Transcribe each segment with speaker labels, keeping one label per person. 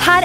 Speaker 1: her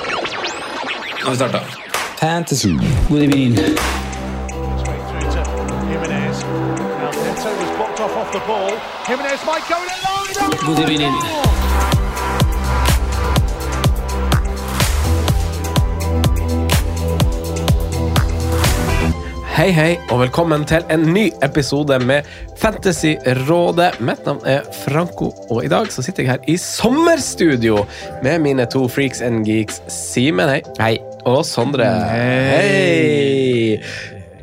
Speaker 2: Nå har vi starta. Fantasy. Hei, hei, og velkommen til en ny episode med Fantasyrådet. Mitt navn er Franco, og i dag så sitter jeg her i sommerstudio med mine to freaks and geeks, Simen hei. og Sondre. Hei!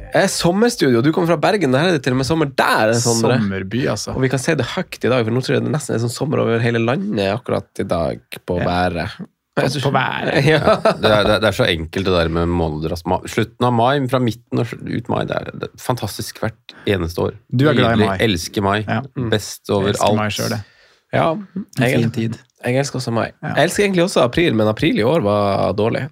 Speaker 2: Eh, Sommerstudio, du kommer fra Bergen. Der er det til og med sommer der.
Speaker 3: Eh,
Speaker 2: Sondre.
Speaker 4: Sommerby, altså.
Speaker 2: Og vi kan si det høyt i dag, for nå tror jeg det nesten er sånn sommer over hele landet akkurat i dag, på været.
Speaker 4: På været.
Speaker 2: Ja.
Speaker 3: Det er, det, er, det er så enkelt det der med måneders mai. Slutten av mai, fra midten og sl- ut mai. Det er, det er fantastisk hvert eneste år.
Speaker 4: Du er glad i
Speaker 3: Nydelig.
Speaker 4: mai.
Speaker 3: Elsker mai.
Speaker 4: Ja.
Speaker 3: Best over
Speaker 4: Elsker
Speaker 3: alt.
Speaker 4: meg selv, det.
Speaker 2: ja.
Speaker 4: En
Speaker 2: Jeg,
Speaker 4: fin tid.
Speaker 2: jeg elsker også mai.
Speaker 4: Ja.
Speaker 2: Jeg elsker egentlig også april, men april i år var dårlig.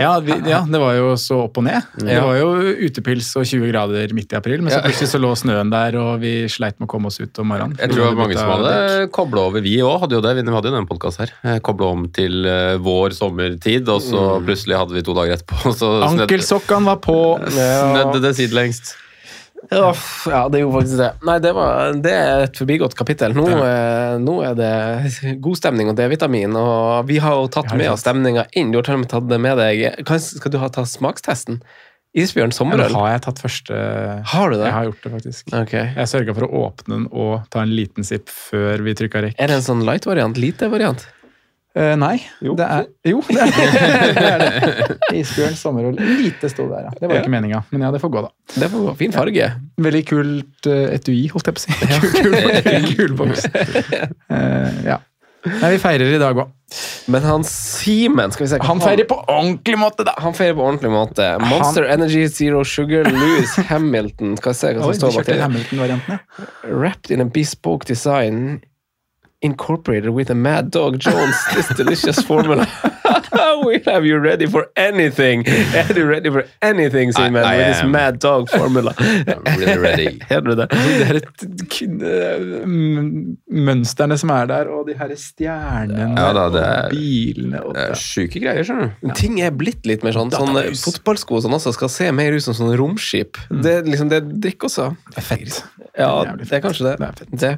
Speaker 4: Ja, vi, ja, det var jo så opp og ned. Det
Speaker 2: Ja.
Speaker 4: var jo utepils og 20 grader midt i april, men så
Speaker 3: Ja.
Speaker 4: plutselig så lå snøen der, og vi sleit med å komme oss ut om morgenen.
Speaker 3: Jeg tror det var mange som hadde kobla over. Vi òg hadde jo det. Vi hadde jo denne podkasten her. Kobla om til eh, vår sommertid, og så
Speaker 4: Mm.
Speaker 3: plutselig hadde vi to dager etterpå. og Så snødde,
Speaker 4: Ankelsokkene var på.
Speaker 3: snødde det sidelengst.
Speaker 2: Uff, ja, det gjorde faktisk det. Nei, det, var, det er et forbigått kapittel. Nå, eh, nå er det god stemning og D-vitamin, og vi har jo tatt
Speaker 4: Ja,
Speaker 2: med
Speaker 4: sant.
Speaker 2: oss stemninga inn. Du har til og med tatt det med deg. Kan, skal du ha, ta smakstesten? Isbjørn
Speaker 4: Eller
Speaker 2: sommerøl?
Speaker 4: har jeg tatt første
Speaker 2: Har du det?
Speaker 4: Jeg har gjort det, faktisk.
Speaker 2: Ok.
Speaker 4: Jeg sørga for å åpne den og ta en liten sipp før vi trykka rekk.
Speaker 2: Er det en sånn light-variant? Lite-variant?
Speaker 4: Eh, nei. Det er, jo, det er det. er det. Isbjørn sommerøl. Lite sto der, ja. Det var
Speaker 2: Ja.
Speaker 4: ikke meninga, men ja, det får gå, da.
Speaker 2: Det får gå. Fin farge.
Speaker 4: Veldig kult eh, etui, holdt jeg på å si. Kul, kul, kul boks. Eh, ja. Nei, vi feirer i dag òg.
Speaker 2: Men han Simen skal vi se hva
Speaker 4: Han feirer på ordentlig måte, da!
Speaker 2: han feirer på ordentlig måte. Monster Energy Zero Sugar Louis Hamilton. Skal jeg se hva som
Speaker 4: Oi, vi
Speaker 2: står bak det?
Speaker 4: kjørte Hamilton-varianten, ja.
Speaker 2: Wrapped in a bespoke design incorporated with a mad dog Jones. This delicious formula. We'll have you ready for anything. Are you ready for anything, Simen?
Speaker 3: I
Speaker 2: With this
Speaker 3: am.
Speaker 2: mad dog formula.
Speaker 3: I'm really ready.
Speaker 2: Hører du det?
Speaker 4: Det er et kun- eh, m- mønstrene som er der, og de herre stjernene
Speaker 3: Ja, da, det er-
Speaker 4: og bilene og
Speaker 3: Det er sjuke greier, skjønner du.
Speaker 2: Ting er blitt litt mer sånn, sånn eh,
Speaker 4: Database.
Speaker 2: Fotballsko og sånn også skal se mer ut som sånn romskip. Det, er liksom, det drikker også.
Speaker 4: Det er fett.
Speaker 2: Ja,
Speaker 4: Jævlig
Speaker 2: det er
Speaker 4: fett.
Speaker 2: kanskje det.
Speaker 4: Det er fett.
Speaker 2: Det-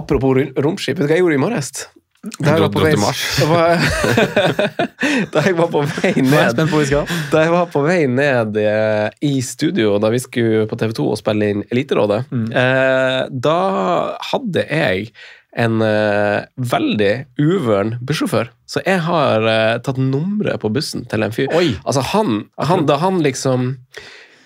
Speaker 2: Apropos ru- romskip, vet du hva jeg gjorde i morges? Da jeg
Speaker 3: Dro-
Speaker 2: var på
Speaker 3: dro
Speaker 2: vei,
Speaker 3: til Mars.
Speaker 2: Da var- da jeg var på vei
Speaker 4: Nå er jeg
Speaker 2: ned
Speaker 4: spent på hvor vi skal.
Speaker 2: Da jeg var på vei ned eh, i studio da vi skulle på TV 2 og spille inn Eliterådet,
Speaker 4: Mm.
Speaker 2: eh, da hadde jeg en eh, veldig uvøren bussjåfør. Så jeg har eh, tatt nummeret på bussen til en fyr.
Speaker 4: Oi.
Speaker 2: Altså, han, han Da han liksom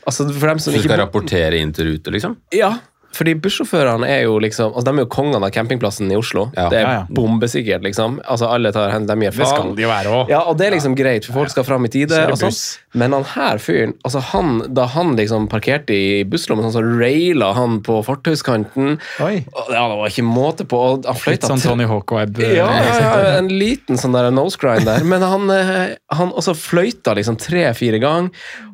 Speaker 2: Altså, for dem som
Speaker 3: Så du
Speaker 2: ikke
Speaker 3: skal rapportere inn til rute, liksom?
Speaker 2: ja, fordi bussjåførene er jo liksom altså De er jo kongene av campingplassen i Oslo.
Speaker 3: Ja.
Speaker 2: Det er
Speaker 4: Ja, ja.
Speaker 2: bombesikkert, liksom. Altså Alle tar hen, de gir
Speaker 4: Det skal
Speaker 2: faen.
Speaker 4: de jo være òg.
Speaker 2: Ja, og det er liksom greit, for folk skal fram i tide.
Speaker 4: Kjøre
Speaker 2: Og sånn.
Speaker 4: buss.
Speaker 2: Men han her fyren, altså han, da han liksom parkerte i busslommen, sånn, så raila han på fortauskanten.
Speaker 4: Oi.
Speaker 2: Og, Ja, det var ikke måte på. og Han
Speaker 4: Litt
Speaker 2: fløyta
Speaker 4: sånn
Speaker 2: til-
Speaker 4: Tony Hawk-vibe. eh,
Speaker 2: ja, ja,
Speaker 4: ikke sant?
Speaker 2: ja, en liten sånn der nose grind der. Men han, eh, han også fløyta liksom tre-fire ganger,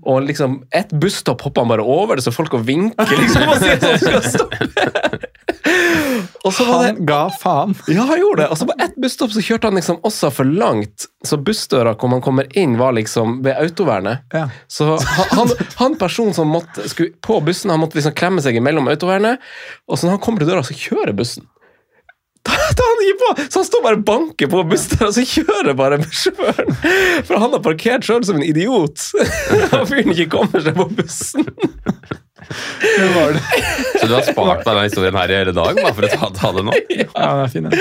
Speaker 2: og liksom ett busstopp hoppa han bare over det, så folk og vinker liksom og sier sånn, skal stoppe. Og så var det
Speaker 4: Han ga faen.
Speaker 2: ja, han gjorde det. Og så på ett busstopp så kjørte han liksom også for langt. Så bussdøra hvor man kommer inn, var liksom ved autovernet.
Speaker 4: Ja.
Speaker 2: Så han, han, han personen som måtte, skulle på bussen, han måtte liksom klemme seg imellom autovernet. Og så når han kommer til døra, så kjører bussen. Da, da han gir på, Så han står bare og banker på bussdøra, så kjører bare bussjåføren. For han har parkert sjøl som en idiot. Og fyren ikke kommer seg på bussen.
Speaker 4: Hvem var det?
Speaker 3: Så du har spart deg denne historien her i hele dag bare for å ta, ta det nå?
Speaker 4: Ja, den er fin, den.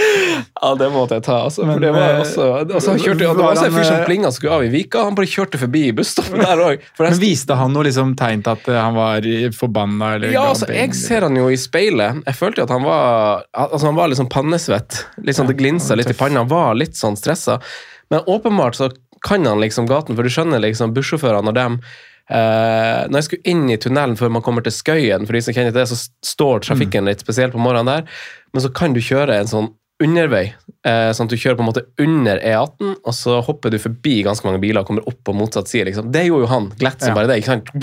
Speaker 2: Ja, det måtte jeg ta, altså.
Speaker 4: Men,
Speaker 2: for det var
Speaker 4: eh,
Speaker 2: også, altså han eh, kjørte, det var også en fyr som plinga som skulle av i Vika. Han bare kjørte forbi busstoppet der òg.
Speaker 4: Men viste han noe liksom, tegn til at eh, han var i- forbanna? Eller
Speaker 2: Ja,
Speaker 4: ga
Speaker 2: altså,
Speaker 4: penger,
Speaker 2: jeg ser han jo i speilet. Jeg følte jo at han var altså han var liksom pannesvett. Litt sånn, Det glinsa litt i panna. Han var litt sånn stressa. Men åpenbart så kan han liksom gaten, for du skjønner liksom bussjåførene og dem. Eh, når jeg skulle inn i tunnelen før man kommer til Skøyen, for de som kjenner til det, så s- står trafikken litt spesielt på morgenen der, men så kan du kjøre en sånn undervei, eh, sånn at du kjører på en måte under E18, og så hopper du forbi ganske mange biler og kommer opp på motsatt side. Liksom. Det gjorde jo han, glatt som
Speaker 4: Ja.
Speaker 2: bare det. ikke sant?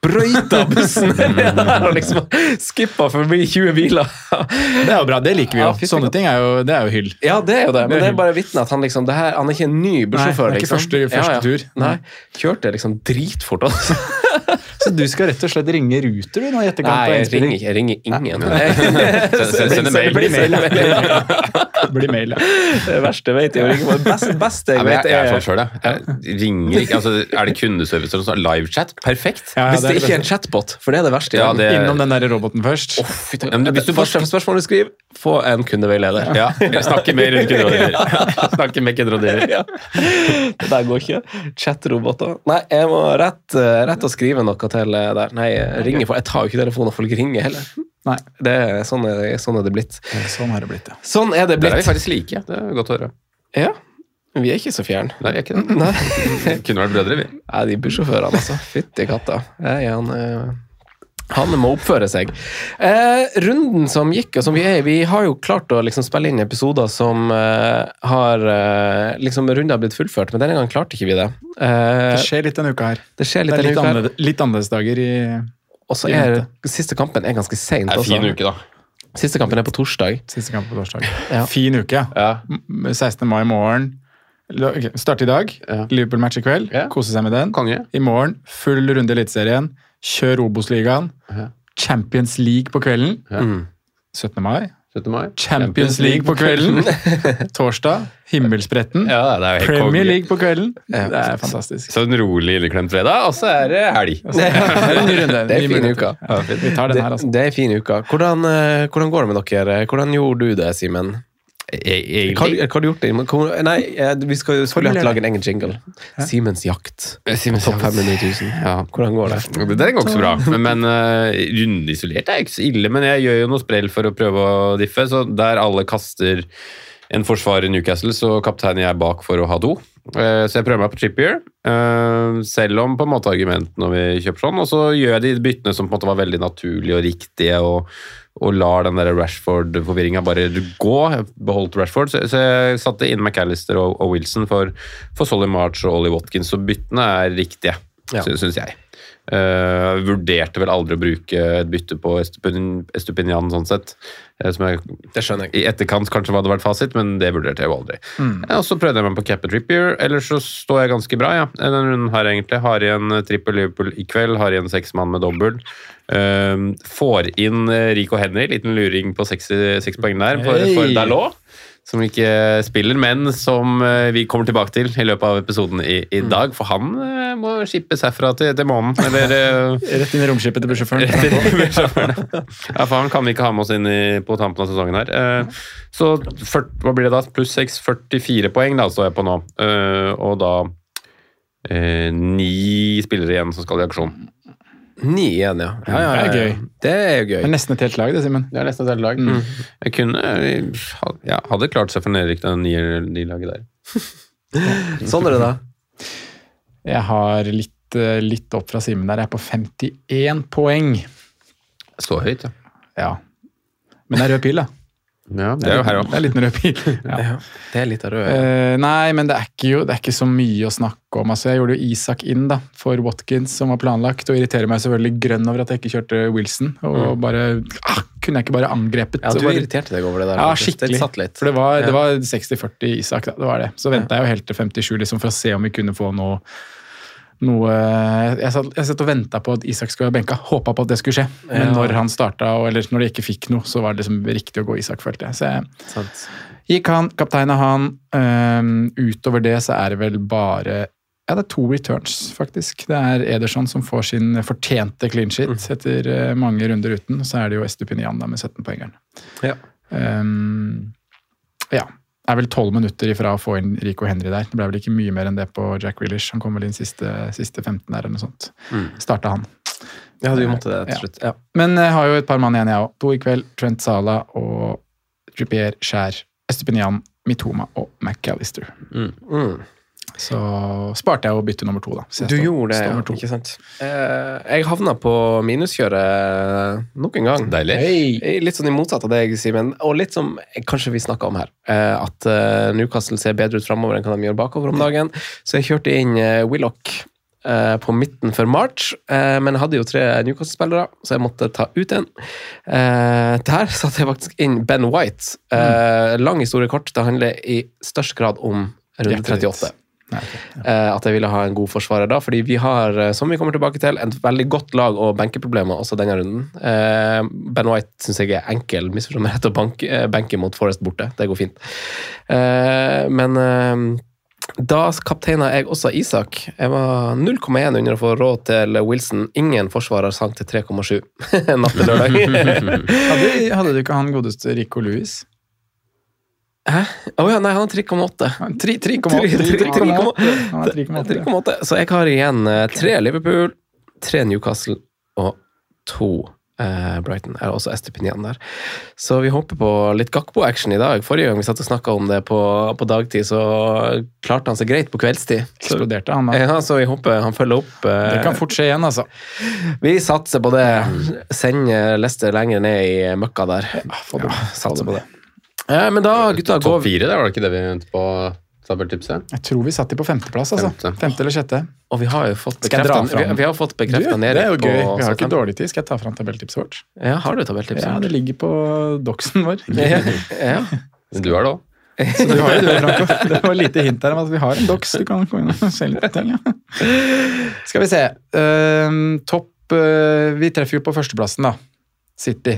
Speaker 2: Brøyta bussen ned der og liksom skippa forbi 20 biler.
Speaker 4: eller? Det er jo bra, det liker vi jo.
Speaker 2: Ja, fy
Speaker 4: Sånne ting er jo, det er jo hyll.
Speaker 2: Ja, det er jo det, men
Speaker 4: Det er
Speaker 2: det er bare vitne at han liksom det her, Han er ikke en ny bussjåfør.
Speaker 4: Nei, det er ikke
Speaker 2: liksom.
Speaker 4: første- første tur.
Speaker 2: Nei, Kjørte liksom dritfort, altså.
Speaker 4: Så du skal rett og slett ringe Ruter du nå i etterkant?
Speaker 2: Nei,
Speaker 4: av
Speaker 2: jeg
Speaker 4: innspilling?
Speaker 2: ringer, jeg ringer ingen. Send- send- Send en
Speaker 4: Det blir
Speaker 2: mail.
Speaker 4: mail. ja. Det blir mail, ja.
Speaker 2: Det verste jeg vet jeg ringer på. Det beste, beste
Speaker 3: Ja,
Speaker 2: jeg
Speaker 3: men
Speaker 2: vet,
Speaker 3: jeg, jeg er sånn
Speaker 2: er
Speaker 3: sjøl, jeg. jeg. Ringer ikke. Altså, er det kundeservice eller noe sånt? Livechat? Perfekt.
Speaker 4: Ja, ja,
Speaker 2: Hvis det
Speaker 4: det er det
Speaker 2: ikke er en chatbot, for det er det verste. i
Speaker 3: Ja,
Speaker 2: verden.
Speaker 3: det-
Speaker 4: Innom den der roboten først.
Speaker 2: Å, fy ta-
Speaker 3: Ja, men
Speaker 2: Hvis du bare skriver spørsmål, skriv 'få en kundeveileder'.
Speaker 3: Ja, jeg snakker med rundt kunderådgiver. Snakker med kunderådgiver.
Speaker 2: Ja. Det der går ikke. Chatroboter. Nei, jeg må rett, eh, rett og skrive noe til eh, der. Nei, jeg ringer for Jeg tar jo ikke telefonen når folk ringer heller.
Speaker 4: Nei,
Speaker 2: Det er, sånn, er, sånn er det blitt.
Speaker 4: sånn har det blitt, ja.
Speaker 2: Sånn er det
Speaker 3: Der er vi
Speaker 2: blitt.
Speaker 3: faktisk like. Det er godt å høre.
Speaker 2: Ja, vi er ikke så fjern.
Speaker 3: Nei, vi er ikke det.
Speaker 2: Nei,
Speaker 3: Kunne vært brødre, vi.
Speaker 2: Nei de bussjåførene, altså. Fytti katta. Nei, han, eh, han må oppføre seg. Eh, runden som gikk, og som vi er i Vi har jo klart å liksom spille inn episoder som eh, har eh, liksom Runder har blitt fullført, men denne gangen klarte ikke vi det. Eh,
Speaker 4: Det skjer litt denne uka her.
Speaker 2: det skjer
Speaker 4: Det
Speaker 2: litt
Speaker 4: er litt,
Speaker 2: denne uka. her.
Speaker 4: annerledes, litt annerledes dager i
Speaker 2: Og så
Speaker 4: i
Speaker 2: er
Speaker 4: vente.
Speaker 2: siste kampen er ganske seint
Speaker 3: Det er en
Speaker 2: også.
Speaker 3: fin uke, da.
Speaker 2: Siste kampen er på torsdag.
Speaker 4: siste kamp på torsdag.
Speaker 2: Ja.
Speaker 4: Fin uke, ja. 16. mai i morgen. Eller, ok, Starte i dag.
Speaker 3: Ja.
Speaker 4: Liverpool-match i kveld.
Speaker 3: Ja.
Speaker 4: Kose seg med den.
Speaker 3: Konge.
Speaker 4: I morgen, full runde i Eliteserien. Kjør Obos-ligaen. Champions League på kvelden.
Speaker 3: Mm.
Speaker 4: 17. mai.
Speaker 3: 17. mai.
Speaker 4: Champions League på kvelden. Torsdag. Himmelspretten.
Speaker 3: Ja, det er jo helt
Speaker 4: Premier
Speaker 3: konge.
Speaker 4: League på kvelden. Det er fantastisk.
Speaker 3: Så en rolig, inneklemt fredag, og så er det helg.
Speaker 4: Det er en ny runde.
Speaker 2: Det er
Speaker 4: Nye
Speaker 2: fin
Speaker 4: muligheter.
Speaker 2: uke.
Speaker 4: Ja, vi tar den her, altså.
Speaker 2: Det, det er fin uke. Hvordan, eh, hvordan går det med dere? Hvordan gjorde du det, Simen?
Speaker 3: E-
Speaker 2: Hva,
Speaker 3: Egentlig
Speaker 2: hva har du gjort? i- hvor- Nei, eh, vi skal, skulle hatt lage en egen jingle. Simens jakt.
Speaker 3: Simens
Speaker 2: Topp
Speaker 3: jakt.
Speaker 2: 500 000.
Speaker 3: Ja.
Speaker 2: Hvordan går det?
Speaker 3: Det der går ikke så bra. Men, men eh, runde isolert er ikke så ille. Men jeg gjør jo noe sprell for å prøve å diffe. Så der alle kaster en forsvarer i Newcastle, så kapteiner jeg bak for å ha do. Eh, Så jeg prøver meg på Trippier, eh, selv om på en måte argumentene når vi kjøper sånn. Og så gjør jeg de byttene som på en måte var veldig naturlige og riktige, og, og lar den der Rashford-forvirringa bare gå. Jeg Beholdt Rashford. Så, så jeg satte inn McAllister og, og Wilson for, for Solly March og Ollie Watkins, så byttene er riktige,
Speaker 2: Ja.
Speaker 3: sy- syns jeg. Eh, vurderte vel aldri å bruke et bytte på Estupin- Estupinian, sånn sett. eh, som jeg
Speaker 2: Det skjønner jeg. Mm.
Speaker 3: i etterkant kanskje hva hadde vært fasit, men det vurderte jeg jo aldri. Ja, Og så prøvde jeg meg på Cap and Trippier, ellers så står jeg ganske bra, ja. Denne runden her egentlig. Har igjen eh, trippel Liverpool i kveld, har igjen seks mann med dobbel. Ehm, får inn eh, Rico Henry, liten luring på seks, seks poeng der, for, for
Speaker 4: Hei.
Speaker 3: Dalot. Som ikke spiller, men som eh, vi kommer tilbake til i løpet av episoden i, i dag. For han eh, må skippes herfra til, til månen, eller eh,
Speaker 4: Rett inn i romskipet til bussjåføren.
Speaker 3: etter bussjåføren. Ja, for han kan vi ikke ha med oss inn i, på tampen av sesongen her. Eh, Så 40, hva blir det da? Pluss 6, 44 poeng da står jeg på nå. Eh, Og da eh, ni spillere igjen som skal i aksjon.
Speaker 2: Ni igjen, ja. Ja, ja, ja, ja.
Speaker 4: Det er gøy.
Speaker 2: Det er jo
Speaker 4: Det er
Speaker 2: gøy.
Speaker 4: nesten et helt lag, det, Simen.
Speaker 3: Det er nesten et helt lag. Mm. Jeg kunne eh, ha- ja, Hadde klart seg for nedrykk av ni-laget der.
Speaker 2: Sånn er det, da.
Speaker 4: Jeg har litt, eh, litt opp fra Simen der. Jeg er på 51 poeng.
Speaker 3: Så høyt, ja.
Speaker 4: Ja. Men det er rød pil, da.
Speaker 3: ja det er jo her
Speaker 4: Det er
Speaker 3: òg.
Speaker 4: en liten rød pil. Ja.
Speaker 2: Det er litt av rød.
Speaker 4: Eh, nei, men det er, ikke jo, det er ikke så mye å snakke om. Altså, jeg gjorde jo Isak inn da, for Watkins, som var planlagt, og irriterer meg selvfølgelig grønn over at jeg ikke kjørte Wilson. Og
Speaker 3: Mm.
Speaker 4: bare ah, Kunne jeg ikke bare angrepet?
Speaker 2: Ja,
Speaker 4: og
Speaker 2: du
Speaker 4: bare,
Speaker 2: irriterte deg over det der.
Speaker 4: ja,
Speaker 2: faktisk.
Speaker 4: skikkelig.
Speaker 2: Det satt litt.
Speaker 4: For det var,
Speaker 2: Ja.
Speaker 4: det var 60-40 Isak, da. Det var det. Så venta jeg jo helt til 57 liksom, for å se om vi kunne få noe noe Jeg satt, jeg satt og venta på at Isak skulle være benka. Håpa på at det skulle skje. Men
Speaker 2: Ja.
Speaker 4: når han starta, og- eller når de ikke fikk noe, så var det liksom riktig å gå Isak, følte jeg. Så jeg
Speaker 2: Sant.
Speaker 4: gikk han, kapteina han. Ehm, utover det så er det vel bare Ja, det er to returns, faktisk. Det er Ederson som får sin fortjente clean sheet etter eh, mange runder uten. Så er det jo Estupinian da med 17-poengeren.
Speaker 2: Ja.
Speaker 4: Ehm, ja. Er vel tolv minutter ifra å få inn Rico Henry der. Det ble vel ikke mye mer enn det på Jack Grealish. Han kom vel inn siste, siste 15 der, eller noe sånt. Starta han.
Speaker 2: Ja, du måtte det
Speaker 4: Eh, Ja.
Speaker 2: til slutt. Ja.
Speaker 4: Men jeg har jo et par mann igjen, jeg òg. To i kveld. Trent Sala og Trippier Skjær. Estupinian, Mitoma og McAllister.
Speaker 2: Mm.
Speaker 4: Så sparte jeg å bytte nummer to, da. Så jeg
Speaker 2: Du
Speaker 4: står-
Speaker 2: gjorde det,
Speaker 4: står
Speaker 2: ja.
Speaker 4: nummer to.
Speaker 2: ikke sant? Eh, jeg havna på minuskjøret nok en gang.
Speaker 3: Deilig.
Speaker 2: Eh, Litt sånn i motsatt av det jeg sier, men, og litt som eh, kanskje vi snakka om her. eh, at eh, Newcastle ser bedre ut framover enn hva de gjør bakover om dagen. Så jeg kjørte inn eh, Willoch eh, på midten for March, eh, men jeg hadde jo tre Newcastle-spillere, så jeg måtte ta ut en. Eh, der satte jeg faktisk inn Ben White. Eh,
Speaker 4: Mm.
Speaker 2: lang historie kort, det handler i størst grad om runde
Speaker 4: Hjertet ditt.
Speaker 2: 38.
Speaker 4: Nei, ok.
Speaker 2: Eh, at jeg ville ha en god forsvarer da, fordi vi har, eh, som vi kommer tilbake til, et veldig godt lag og benkeproblemer også denne runden. Eh, Ben White syns jeg er enkel, misforstå meg rett, å banke, eh, benke mot Forest borte. Det går fint. Eh, men eh, da kapteina jeg også Isak. Jeg var 0,1 under å få råd til Wilson. Ingen forsvarer sank til 3,7 natt til lørdag.
Speaker 4: Hadde, hadde du ikke han godeste Rico Louis?
Speaker 2: Å ja, nei, han har 3,8.
Speaker 4: Han- tri-
Speaker 2: Tri-
Speaker 4: 3,8.
Speaker 2: tri- tri-
Speaker 4: Han er
Speaker 2: tri-
Speaker 4: 3,8, ja.
Speaker 2: 3,8. Så jeg har igjen eh, tre Liverpool, tre Newcastle og to eh, Brighton. Jeg har også Estepinian der. Så vi håper på litt Gakbo-action i dag. Forrige gang vi satt og snakka om det på, på dagtid, så klarte han seg greit på kveldstid. Så,
Speaker 4: Eksploderte han da.
Speaker 2: ja, så vi håper han følger opp. eh,
Speaker 4: Det kan fort skje igjen, altså.
Speaker 2: Vi satser på det. Send eh, Leicester lenger ned i møkka der.
Speaker 4: Ah,
Speaker 2: Ja,
Speaker 4: altså,
Speaker 2: satser på det. Eh, men da, gutta, går
Speaker 3: Topp
Speaker 2: vi
Speaker 3: fire, det var det ikke det vi ventet på? Sabeltipset?
Speaker 4: Jeg tror vi satt de på femteplass, altså.
Speaker 3: Femte.
Speaker 4: Femte eller sjette.
Speaker 2: Og vi har jo fått
Speaker 4: Skal jeg dra
Speaker 2: bekreftet-
Speaker 4: fram?
Speaker 2: vi, vi har fått
Speaker 4: Du,
Speaker 2: bekrefta
Speaker 4: det
Speaker 2: Nerik.
Speaker 4: er jo
Speaker 2: på
Speaker 4: gøy. Vi har ikke
Speaker 2: Southampton.
Speaker 4: dårlig tid. Skal jeg ta fram tabelltipset vårt?
Speaker 2: Ja, har du tabelltips?
Speaker 4: Ja, det ligger på doksen vår.
Speaker 2: ja, ja.
Speaker 3: Du er det òg.
Speaker 4: Så du har jo det, Franco. Det var lite hint her om at vi har en doks. Du kan gå inn og se litt på ting. Ja. Skal vi se. Eh, Ehm, topp eh, Vi treffer jo på førsteplassen, da. City.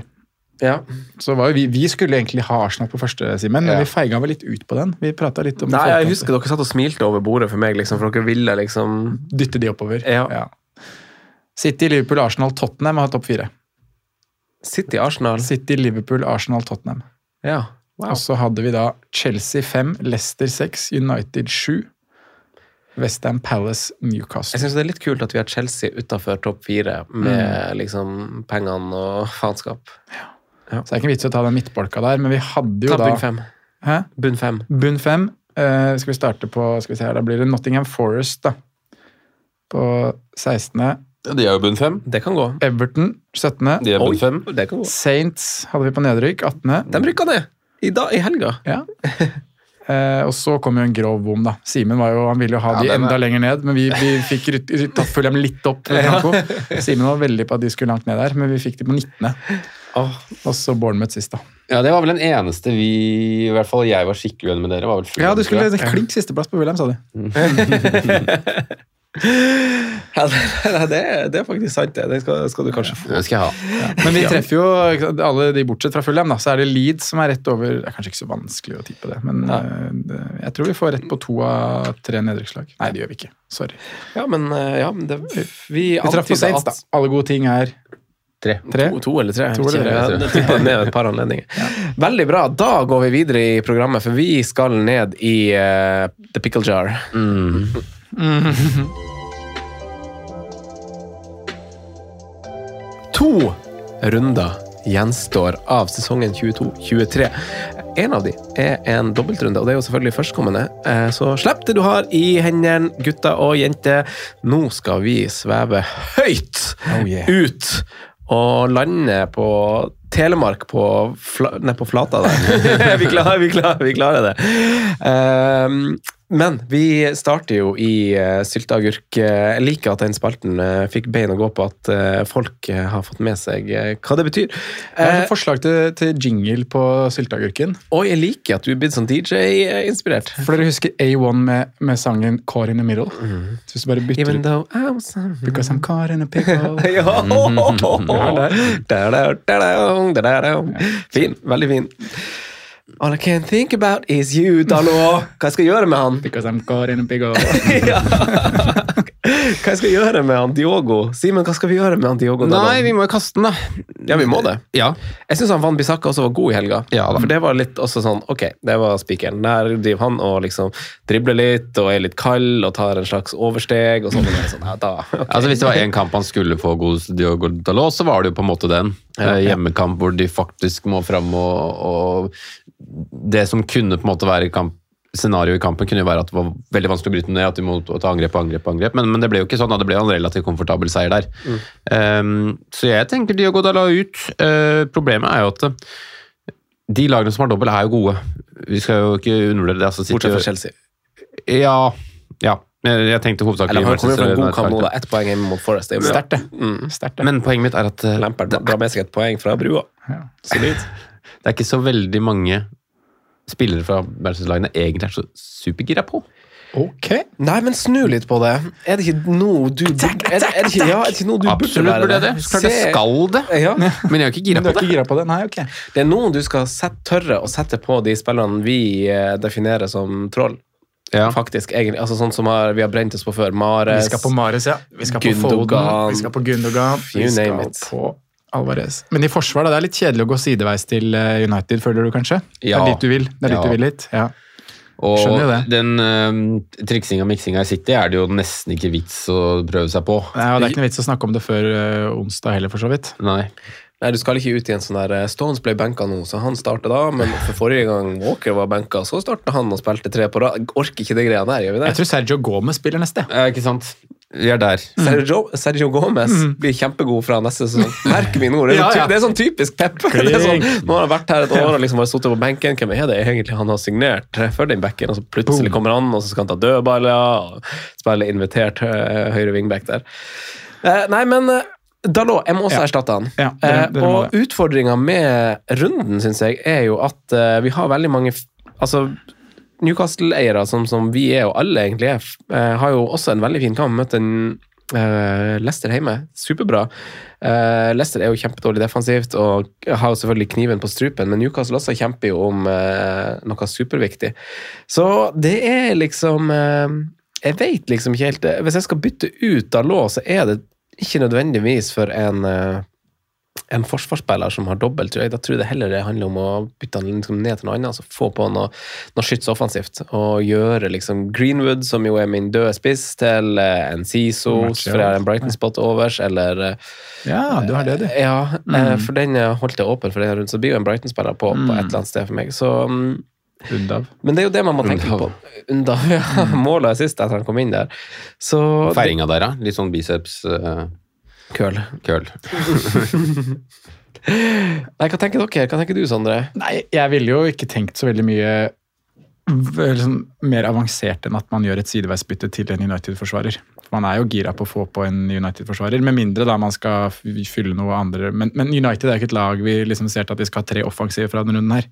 Speaker 2: ja.
Speaker 4: Så var jo vi, vi skulle egentlig ha Arsenal på første, Simen, men
Speaker 2: Ja.
Speaker 4: vi feiga vel litt ut på den. Vi prata litt om
Speaker 2: Nei,
Speaker 4: forkant.
Speaker 2: jeg husker dere satt og smilte over bordet for meg, liksom, for dere ville liksom
Speaker 4: Dytte de oppover.
Speaker 2: Ja.
Speaker 4: City, Liverpool, Arsenal, Tottenham har topp fire.
Speaker 2: City Arsenal.
Speaker 4: City, Liverpool, Arsenal, Tottenham.
Speaker 2: Ja. Wow.
Speaker 4: Og så hadde vi da Chelsea 5, Leicester 6, United 7, Westham Palace, Newcastle.
Speaker 2: Jeg syns det er litt kult at vi har Chelsea utafor topp fire, med liksom pengene og faenskap.
Speaker 4: Så det er ikke vits å ta den midtbolka der, men vi hadde jo
Speaker 2: Ta bunn
Speaker 4: da
Speaker 2: fem.
Speaker 4: Hæ?
Speaker 2: Bunn fem.
Speaker 4: Bunn 5. Eh, skal vi starte på skal vi se her, Da blir det Nottingham Forest da. på 16.
Speaker 3: Ja, de er jo bunn fem.
Speaker 2: Det kan gå.
Speaker 4: Everton 17.
Speaker 3: De er bunn
Speaker 2: Oi,
Speaker 3: fem.
Speaker 2: Det kan gå.
Speaker 4: Saints hadde vi på nedrykk 18.
Speaker 2: De rykka ned! I, dag, I helga.
Speaker 4: Ja. Eh, og så kom jo en grov bom, da. Simen var jo, han ville jo ha de
Speaker 3: den er-
Speaker 4: enda lenger ned, men vi, vi fikk ryt- ryt- tatt Fulham litt opp. eh, Franco. Simen var veldig på at de skulle langt ned der, men vi fikk de på 19. Og så Bournemouth sist, da.
Speaker 3: Ja, Det var vel den eneste vi I hvert fall jeg var skikkelig uenig med dere. var vel Fulham,
Speaker 4: Ja, du
Speaker 3: tror jeg.
Speaker 4: skulle klink sisteplass på William, sa du.
Speaker 2: Ja, det, det, er- det er faktisk sant, det. Det skal, skal du kanskje få.
Speaker 3: Den skal jeg ha.
Speaker 4: Men vi treffer jo ikke sant, alle de bortsett fra Fulham, da. Så er det Leeds som er rett over Det er kanskje ikke så vanskelig å tippe det, men eh, det, jeg tror vi får rett på to av tre nedrykkslag. Nei, det gjør vi ikke. Sorry.
Speaker 2: Ja, men eh, ja, men det, vi
Speaker 4: Vi traff på
Speaker 2: antyder
Speaker 4: Saints,
Speaker 2: at
Speaker 4: da. Alle gode ting er
Speaker 3: Tre.
Speaker 4: tre.
Speaker 2: To, to eller tre.
Speaker 4: To eller tre,
Speaker 2: Ja,
Speaker 4: tror jeg.
Speaker 2: det tipper jeg ned ved et par anledninger. Veldig bra. Da går vi videre i programmet, for vi skal ned i eh, The Pickle Jar. To runder gjenstår av sesongen 22-23. En av de er en dobbeltrunde, og det er jo selvfølgelig førstkommende. Eh, Så slipp det du har i hendene, gutter og jenter. Nå skal vi sveve høyt ut og lande på Telemark på, fla ned på flata der. vi, klarer, vi, klarer, vi klarer det. Ehm, men vi starter jo i uh, sylteagurk. Eh, Jeg liker at den spalten eh, fikk bein å gå på at eh, folk eh, har fått med seg eh, hva det betyr.
Speaker 4: Jeg har
Speaker 2: Eh,
Speaker 4: et forslag til, til jingle på sylteagurken.
Speaker 2: og jeg liker at du er blitt sånn DJ-inspirert.
Speaker 4: For dere husker A1 med, med sangen Car in the Middle? Så hvis du bare
Speaker 2: Mhm.
Speaker 4: bytter
Speaker 2: Even
Speaker 4: ut
Speaker 2: though I was hungry.
Speaker 4: Because I'm car in a pickle.
Speaker 2: Ja. Da-da, da-da, da-da. Fin. Veldig fin. All I can think about is you, Dalot. Hva skal jeg gjøre med han?
Speaker 4: Because I'm caught in a big hole.
Speaker 2: ja. Hva skal jeg gjøre med han Diogo? Simen, hva skal vi gjøre med han Diogo? Dalot?
Speaker 3: Nei, vi må jo kaste den, da.
Speaker 2: Ja, vi må det.
Speaker 3: Ja.
Speaker 2: Jeg syns Van Bissaka også var god i helga.
Speaker 3: Ja da.
Speaker 2: For det var litt også sånn Ok, det var spikeren. Der driver han og liksom dribler litt og er litt kald og tar en slags oversteg og sånn. Og det er sånn ja, da. ok.
Speaker 3: Altså Hvis det var én kamp han skulle få god Diogo Dalot, så var det jo på en måte den. Eh, Hjemmekamp hvor de faktisk må fram og, og Det som kunne på en måte være kamp scenarioet i kampen kunne jo være at det var veldig vanskelig å bryte ned, at de må ta angrep og angrep, og angrep men, men det ble jo ikke sånn. da. Det ble jo en relativt komfortabel seier der.
Speaker 2: Mm.
Speaker 3: Eh, så jeg tenker Diogo Dalot ut. Eh, problemet er jo at eh, de lagene som har dobbel, er jo gode. Vi skal jo ikke undervurdere det. Altså, City-
Speaker 2: Bortsett fra Chelsea.
Speaker 3: Ja. ja. Jeg jeg tenkte hovedsakelig
Speaker 2: Eller han kommer jo fra en god kamp nå, da.
Speaker 3: Manchester
Speaker 2: Ett poeng hjemme mot Forest. Det er jo bra.
Speaker 4: Sterkt, det. Sterkt, det.
Speaker 3: Men poenget mitt er at eh,
Speaker 2: Lampard drar med seg et poeng fra brua.
Speaker 4: Ja.
Speaker 2: Solid.
Speaker 3: det er ikke så veldig mange spillere fra Manchester-lagene egentlig er så supergira på.
Speaker 4: Ok.
Speaker 2: Nei, men snu litt på det. Er det ikke nå du er, det- er det ikke, ja, er det ikke nå du
Speaker 3: Absolutt burde jeg det. Så Klart jeg skal det,
Speaker 2: Ja.
Speaker 3: men jeg er jo ikke
Speaker 4: Du
Speaker 3: gira på
Speaker 4: er
Speaker 3: det.
Speaker 4: ikke gira på det? Nei, ok.
Speaker 2: Det er nå du skal sette, tørre å sette på de spillerne vi eh, definerer som troll.
Speaker 3: Ja.
Speaker 2: Faktisk, egentlig. Altså sånn som har, vi har brent oss på før.
Speaker 4: Vi
Speaker 2: Mares
Speaker 4: skal på Mares, ja. Vi skal på
Speaker 2: Gundogan.
Speaker 4: Foden. Vi skal på Gundogan.
Speaker 2: You
Speaker 4: Vi skal
Speaker 2: name it.
Speaker 4: på Alvarez. Men i forsvar, da, det er litt kjedelig å gå sideveis til eh, United, føler du kanskje?
Speaker 3: Ja.
Speaker 4: Det er dit du vil. Det er dit
Speaker 3: Ja.
Speaker 4: du vil litt. Ja.
Speaker 3: Og
Speaker 4: Skjønner jo det.
Speaker 3: den uh, triksinga og miksinga i City er det jo nesten ikke vits å prøve seg på.
Speaker 4: Nei, og det er ikke noe vits å snakke om det før eh, onsdag heller, for så vidt.
Speaker 3: Nei.
Speaker 2: Nei, du skal ikke ut i en sånn der eh, Stones ble benka nå, så han starter da. Men for forrige gang Walker var benka, så starta han og spilte tre på rad. Orker ikke de greiene der, gjør vi
Speaker 4: Jeg
Speaker 2: det?
Speaker 4: tror Sergio Gomez spiller neste.
Speaker 3: Eh, ikke sant? Vi er der.
Speaker 2: Sergio, Sergio Gomez blir kjempegod fra neste sesong. Merker vi nå? Det er sånn,
Speaker 4: Mm. Ja, ja.
Speaker 2: ty- det er sånn typisk Pep. Det er sånn, nå har han vært her et år og liksom bare sittet på benken. Hvem er det egentlig han har signert for den bekken? Og så plutselig kommer han, og så skal han ta dødballer og spille invitert eh, høyre wingback der. Eh, Nei, men eh, Dalot, jeg må også
Speaker 4: Ja.
Speaker 2: erstatte han.
Speaker 4: Ja, dere-
Speaker 2: Eh,
Speaker 4: dere må
Speaker 2: og utfordringa med runden, syns jeg, er jo at eh, vi har veldig mange f- Altså, Newcastle-eiere, som, som vi er, og alle egentlig er, f- eh, har jo også en veldig fin kamp. Møtt en eh, Leicester hjemme. Superbra. Eh, Leicester er jo kjempedårlig defensivt og har jo selvfølgelig kniven på strupen, men Newcastle også kjemper jo om eh, noe superviktig. Så det er liksom eh, jeg vet liksom ikke helt det. Hvis jeg skal bytte ut Dalot, så er det ikke nødvendigvis for en eh, en forsvarsspiller som har dobbelt, tror jeg. Da tror jeg det heller det handler om å bytte han liksom ned til noe annet. Altså få på noe, noe skyts offensivt. Og gjøre liksom Greenwood, som jo er min døde spiss, til eh, en Siso,
Speaker 4: Matcher,
Speaker 2: for jeg har en Brighton-spot overs, eller eh,
Speaker 4: Ja, du har det, du.
Speaker 2: ja, eh, for den eh, holdt jeg åpen for den runden, så blir jo en Brighton-spiller på, på et eller annet sted for meg. Så, mm,
Speaker 4: Undav.
Speaker 2: men det er jo det man må tenke på.
Speaker 3: Undav.
Speaker 2: Unda, ja,
Speaker 3: Mm.
Speaker 2: målet sist etter han kom inn der. Så
Speaker 3: Feiringa der, da. Litt sånn biceps-køl.
Speaker 2: Køl. Nei, hva tenker dere? Hva tenker du, Sondre?
Speaker 4: Nei, jeg ville jo ikke tenkt så veldig mye v- liksom, mer avansert enn at man gjør et sideveisbytte til en United-forsvarer. Man er jo gira på å få på en United-forsvarer, med mindre da man skal f- fylle noe andre. Men, men United er jo ikke et lag vi liksom ser til at de skal ha tre offensive fra denne runden her.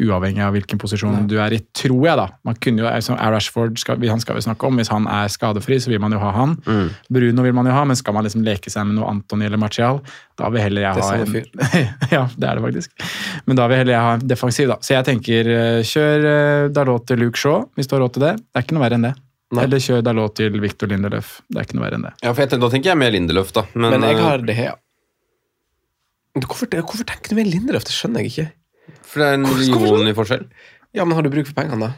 Speaker 4: Uavhengig av hvilken posisjon du er i, tror jeg, da. Man kunne jo, altså, Al Rashford skal, vi- han skal vi snakke om. Hvis han er skadefri, så vil man jo ha han.
Speaker 3: Mm.
Speaker 4: Bruno vil man jo ha, men skal man liksom leke seg med noe Antony eller Martial, da vil heller jeg
Speaker 2: Det er
Speaker 4: ha
Speaker 2: samme
Speaker 4: en
Speaker 2: fyr.
Speaker 4: ja, det er det faktisk. Men da vil heller jeg ha en defensiv, da. Så jeg tenker eh, kjør eh, Dalot til Luke Shaw, hvis du har råd til det. Det er ikke noe verre enn det.
Speaker 2: Nei.
Speaker 4: Eller kjør Dalot til Victor Lindelöf. Det er ikke noe verre enn det.
Speaker 3: Ja, for jeg, tenker- da tenker jeg mer Lindeløf, da. Men,
Speaker 2: Men jeg
Speaker 3: eh,
Speaker 2: har det her. Men Hvorfor, det- hvorfor tenker du mer Lindeløf? Det skjønner jeg ikke.
Speaker 3: For det er en million i forskjell.
Speaker 2: Ja, men har du bruk for pengene, da?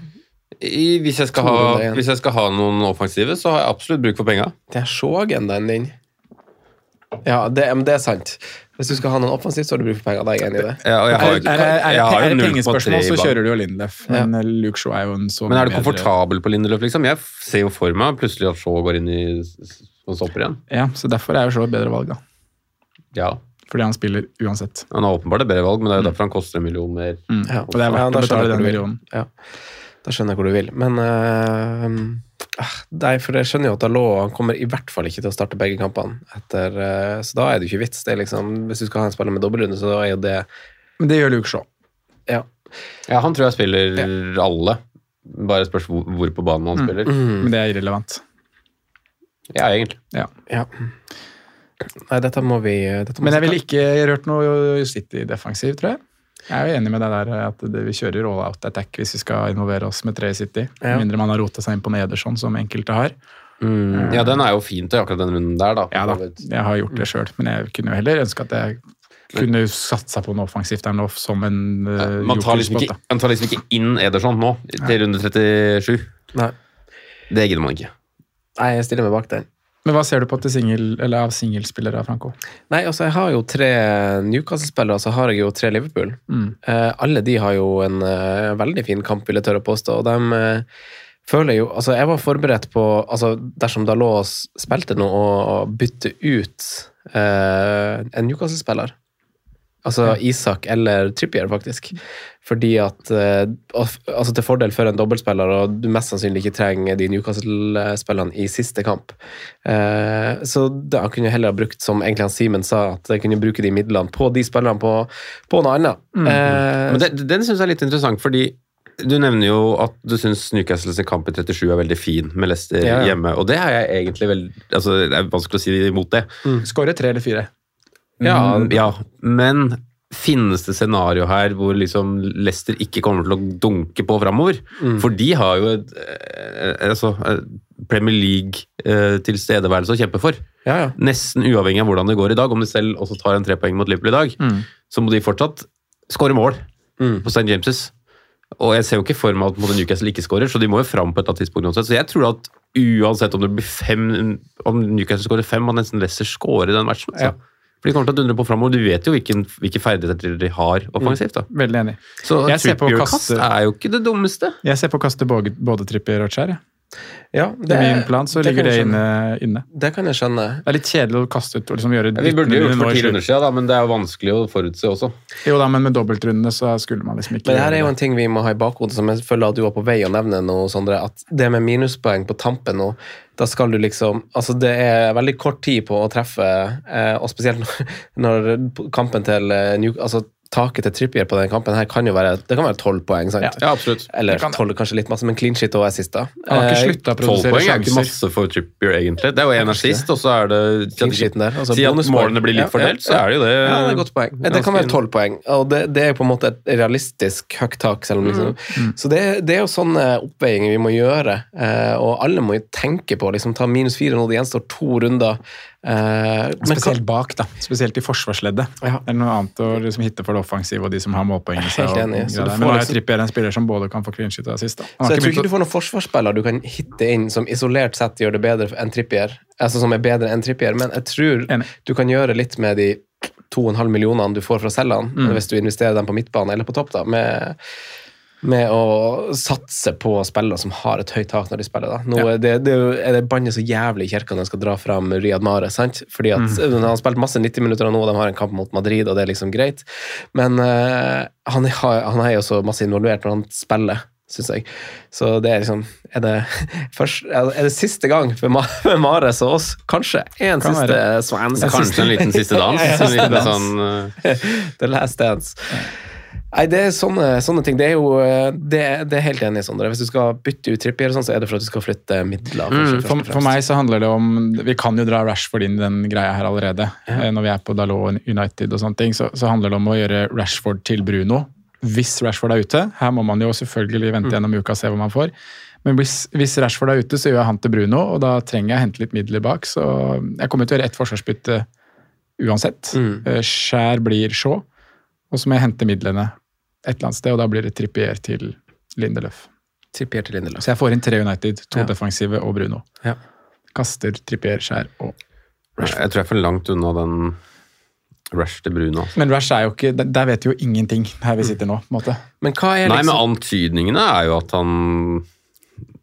Speaker 3: I, hvis, jeg skal
Speaker 2: Tror du
Speaker 3: ha,
Speaker 2: det?
Speaker 3: hvis jeg skal ha noen offensive, så har jeg absolutt bruk for penga.
Speaker 2: Det er Shaw-agendaen din. Ja, det, men det er sant. Hvis du skal ha noen offensivt, så har du bruk for penger. Da er jeg enig i det.
Speaker 3: Jeg, og jeg har,
Speaker 4: Er, er, er,
Speaker 3: jeg har
Speaker 4: er
Speaker 3: jo
Speaker 4: det
Speaker 3: 0,3
Speaker 4: pengespørsmål,
Speaker 3: i
Speaker 4: så
Speaker 3: bank.
Speaker 4: kjører du jo Lindelöf. Men eh, Luke Shaw er jo en så
Speaker 3: Men er du
Speaker 4: mye bedre-
Speaker 3: komfortabel på Lindeløf, liksom? Jeg f- ser jo for meg plutselig at Shaw går inn i s- s- og stopper igjen.
Speaker 4: Ja, så derfor er jo Shaw et bedre valg, da.
Speaker 3: Ja,
Speaker 4: Fordi han spiller uansett.
Speaker 3: Han har åpenbart et bedre valg, men det er jo derfor han koster en million mer.
Speaker 2: Ja.
Speaker 4: Og det er
Speaker 2: Ja,
Speaker 4: verdt
Speaker 2: da
Speaker 4: å
Speaker 2: skjønner jeg
Speaker 4: betale
Speaker 2: hvor
Speaker 4: den
Speaker 2: du vil.
Speaker 4: millionen.
Speaker 2: Ja, da skjønner jeg hvor du vil. Men eh, ah, Nei, for jeg skjønner jo at Dalot han kommer i hvert fall ikke til å starte begge kampene. Etter, eh, så da er det jo ikke vits. Det er liksom, hvis du skal ha en spiller med dobbeltrunde, så er jo det
Speaker 4: Men det gjør Luke Shaw.
Speaker 2: ja.
Speaker 3: Ja, Han tror jeg spiller alle. Bare spørs hvor, hvor på banen han spiller.
Speaker 4: Men det er irrelevant.
Speaker 2: Mm.
Speaker 3: Ja, egentlig.
Speaker 4: Ja.
Speaker 2: ja. Nei, dette må vi dette må
Speaker 4: Men jeg
Speaker 2: vi-
Speaker 4: ville ikke rørt noe City defensiv, tror jeg. Jeg er jo enig med deg der eh, at det, vi kjører all out attack hvis vi skal involvere oss med tre i City. Med mindre man har rota seg inn på med Ederson, som enkelte har. Mm.
Speaker 3: Ja, den er jo fin til akkurat den runden der, Mm. da.
Speaker 4: Ja da, jeg har gjort det sjøl, men jeg kunne jo heller ønske at jeg kunne satsa på noe offensivt der nå, som en uh,
Speaker 3: Man tar, liksom ikke, man tar liksom ikke inn Ederson nå, til runde 37.
Speaker 2: Nei.
Speaker 3: Det gidder man ikke.
Speaker 2: Nei, jeg stiller meg bak den.
Speaker 4: Men hva ser du på til single, eller av singelspillere, Franco?
Speaker 2: Nei, altså jeg har jo tre Newcastle-spillere, så har jeg jo tre Liverpool.
Speaker 4: Mm.
Speaker 2: Eh, alle de har jo en eh, veldig fin kamp, vil jeg tørre å påstå, og de eh, føler jo Altså, jeg var forberedt på Altså, dersom Dalot spilte nå, å å bytte ut eh, en Newcastle-spiller Altså Isak eller Trippier, faktisk. Fordi at eh, al- Altså til fordel for en dobbeltspiller, og du mest sannsynlig ikke trenger de Newcastle-spillerne i siste kamp. Eh, så da kunne jeg heller ha brukt, som egentlig han Simen sa, at jeg kunne bruke de midlene på de spillerne på, på noe annet. Eh,
Speaker 3: Men den, den syns jeg er litt interessant, fordi du nevner jo at du syns Newcastles kamp i 37 er veldig fin med Leicester
Speaker 2: Ja, ja.
Speaker 3: hjemme, og det er jeg egentlig veldig altså, Det er vanskelig å si imot det.
Speaker 2: mm.
Speaker 4: Skåre tre eller fire?
Speaker 3: Ja, ja, men finnes det scenario her hvor liksom Leicester ikke kommer til å dunke på framover?
Speaker 2: Mm.
Speaker 3: For de har jo et, eh, altså, eh, Premier League-tilstedeværelse å kjempe for.
Speaker 2: ja, ja.
Speaker 3: Nesten uavhengig av hvordan det går i dag, om de selv også tar en trepoeng mot Liverpool i dag,
Speaker 4: Mm.
Speaker 3: så må de fortsatt skåre mål
Speaker 2: Mm.
Speaker 3: på St. James'. Og jeg ser jo ikke for meg at både Newcastle ikke skårer, så de må jo fram på et eller annet tidspunkt uansett. Så jeg tror at uansett om det blir fem, om Newcastle skårer fem, må nesten Leicester skåre den matchen. Altså.
Speaker 2: Ja.
Speaker 3: For de kommer til å dundre på framover. Du vet jo hvilken, hvilke ferdigheter de har offensivt. da.
Speaker 4: Veldig enig.
Speaker 3: Så
Speaker 4: Jeg ser på å
Speaker 3: Trippier-kast
Speaker 4: kaste-
Speaker 3: er jo ikke det dummeste.
Speaker 4: Jeg ser på å kaste både, både Trippier og Cher. jeg.
Speaker 2: ja
Speaker 4: I min plan så ligger
Speaker 2: kan
Speaker 4: det
Speaker 2: jeg
Speaker 4: inne,
Speaker 2: skjønne.
Speaker 4: inne.
Speaker 2: Det kan jeg skjønne.
Speaker 4: Det er litt kjedelig å kaste ut og liksom gjøre
Speaker 3: Vi burde jo gjort
Speaker 4: nå
Speaker 3: for
Speaker 4: i
Speaker 3: ti
Speaker 4: slutt.
Speaker 3: runder siden, da, men det er jo vanskelig å forutse også.
Speaker 4: Jo da, men med dobbeltrundene så skulle man liksom ikke
Speaker 2: Men det her er jo
Speaker 4: gjøre
Speaker 2: en ting vi må ha i bakhodet, som jeg føler at du var på vei å nevne nå, Sondre. At det med minuspoeng på tampen nå, da skal du liksom Altså, det er veldig kort tid på å treffe, eh, og spesielt når, når kampen til eh, New, Altså, taket til Trippier på den kampen her kan jo være Det kan være tolv poeng, sant?
Speaker 3: Ja, absolutt.
Speaker 2: Eller
Speaker 4: Det kan det.
Speaker 2: tolv, kanskje litt masse, men clean shit og assist, da.
Speaker 4: Han har
Speaker 2: Eh,
Speaker 4: ikke slutta å
Speaker 3: Tolv
Speaker 4: produsere
Speaker 3: poeng er ikke
Speaker 4: sjanser.
Speaker 3: masse for Trippier, egentlig. Det er jo en assist, og så er det
Speaker 2: Clean sheeten der, altså
Speaker 3: Si at
Speaker 2: bonuspoeng.
Speaker 3: målene blir
Speaker 2: Ja,
Speaker 3: litt fordelt,
Speaker 2: ja,
Speaker 3: så er det jo det.
Speaker 2: Ja, det er et godt poeng. Det
Speaker 3: Eh, Ganske-
Speaker 2: kan være tolv poeng, og det, det er på en måte et realistisk høyt tak. Selv om liksom. Så det, det er jo sånne oppveiinger vi må gjøre, eh, og alle må jo tenke på liksom, ta minus fire nå, det gjenstår to runder. eh, men hva-
Speaker 4: Spesielt bak, da. Spesielt i forsvarsleddet.
Speaker 2: Ja.
Speaker 4: Det er noe annet å liksom hitte for det offensive og de som har målpoeng i seg.
Speaker 2: Helt
Speaker 4: og
Speaker 2: enig, så
Speaker 4: greier.
Speaker 2: du får
Speaker 4: Men nå er jo
Speaker 2: liksom-
Speaker 4: Trippier en spiller som både kan få clean sheet og assist. da. Han
Speaker 2: så
Speaker 4: har
Speaker 2: jeg tror
Speaker 4: ikke
Speaker 2: ikke du
Speaker 4: begynt å...
Speaker 2: får noen forsvarsspiller du kan hitte inn som isolert sett gjør det bedre enn Trippier, altså som er bedre enn Trippier, men jeg tror
Speaker 4: Enig.
Speaker 2: du kan gjøre litt med de 2,5 millionene du får fra selgerne,
Speaker 4: Mm.
Speaker 2: hvis du investerer dem på midtbane eller på topp, da, med, med å satse på spillere som har et høyt tak når de spiller. Da. Nå er det, det er jo- er det bannet så jævlig i kirka når de skal dra fram Riyad Mahrez, sant? Fordi at
Speaker 4: Mm.
Speaker 2: han har spilt masse 90 minutter nå, og de har en kamp mot Madrid, og det er liksom greit. Men eh, han, har, han er jo så masse involvert når han spiller, syns jeg. Så det er liksom Er det, først, er det siste gang for Ma- for Mahrez og oss? Kanskje. Én
Speaker 4: Kan
Speaker 2: siste
Speaker 4: være.
Speaker 2: svensk.
Speaker 3: Kanskje en liten siste dans.
Speaker 2: Ja, ja,
Speaker 3: en liten
Speaker 2: dans.
Speaker 3: sånn, eh,
Speaker 2: The Last Dance. Nei, det er sånne, sånne ting. Det er jo eh, det, det er helt enig, i, Sondre. Hvis du skal bytte ut Trippier, og sånn, så er det for at du skal flytte midler. kanskje, først og
Speaker 4: Mm, For,
Speaker 2: fremst.
Speaker 4: for meg så handler det om Vi kan jo dra Rashford inn i den greia her allerede. Eh, Når vi er på Dalot og United og sånne ting, så, så handler det om å gjøre Rashford til Bruno. Hvis Rashford er ute. Her må man jo selvfølgelig vente gjennom uka og se hva man får. Men hvis, hvis Rashford er ute, så gjør jeg han til Bruno, og da trenger jeg hente litt midler bak. Så jeg kommer til å gjøre ett forsvarsbytte uansett. Eh, Skjær blir Shaw, og så må jeg hente midlene et eller annet sted, og da blir det Trippier til Lindeløf.
Speaker 2: Trippier til Lindeløf.
Speaker 4: Så jeg får inn tre United, to
Speaker 2: Ja.
Speaker 4: defensive og Bruno.
Speaker 2: Ja.
Speaker 4: Kaster, trippier, skjær og
Speaker 3: Jeg tror jeg er for langt unna den Rush til Bruno.
Speaker 4: Men Rash er jo ikke Der der vet vi jo ingenting her vi sitter nå. på en måte.
Speaker 2: Men hva er
Speaker 3: Nei, men
Speaker 2: liksom
Speaker 3: antydningene er jo at han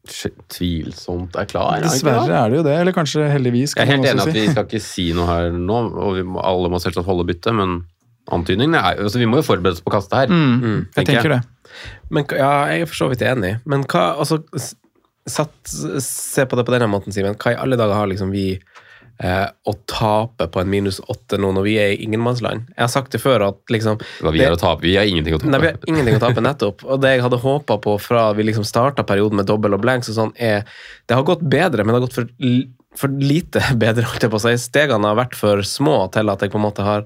Speaker 3: sj- tvilsomt er klar. er han ikke
Speaker 4: Dessverre
Speaker 3: det?
Speaker 4: er det jo det, eller kanskje heldigvis.
Speaker 3: Jeg
Speaker 4: kan
Speaker 3: er helt
Speaker 4: man
Speaker 3: enig
Speaker 4: også
Speaker 3: at vi
Speaker 4: si.
Speaker 3: skal ikke si noe her nå, og vi må, alle må selvsagt holde byttet, men antydningene er jo altså, Vi må jo forberede oss på kastet her.
Speaker 2: Mm.
Speaker 4: Jeg tenker det.
Speaker 2: men, hva- Ja, jeg er for så vidt enig, men hva altså, s- satt, s- Se på det på denne måten, Simen. Hva i alle dager har liksom vi eh, å tape på en minus åtte nå når vi er i ingenmannsland? Jeg har sagt det før at liksom
Speaker 3: Hva vi
Speaker 2: det-
Speaker 3: har å tape. Vi har ingenting å tape.
Speaker 2: Nei, vi har ingenting å tape nettopp. Og det jeg hadde håpa på fra vi liksom starta perioden med dobbel og blanks og sånn, er Det har gått bedre, men det har gått for, l- for lite bedre, holdt jeg på å si. Stegene har vært for små til at jeg på en måte har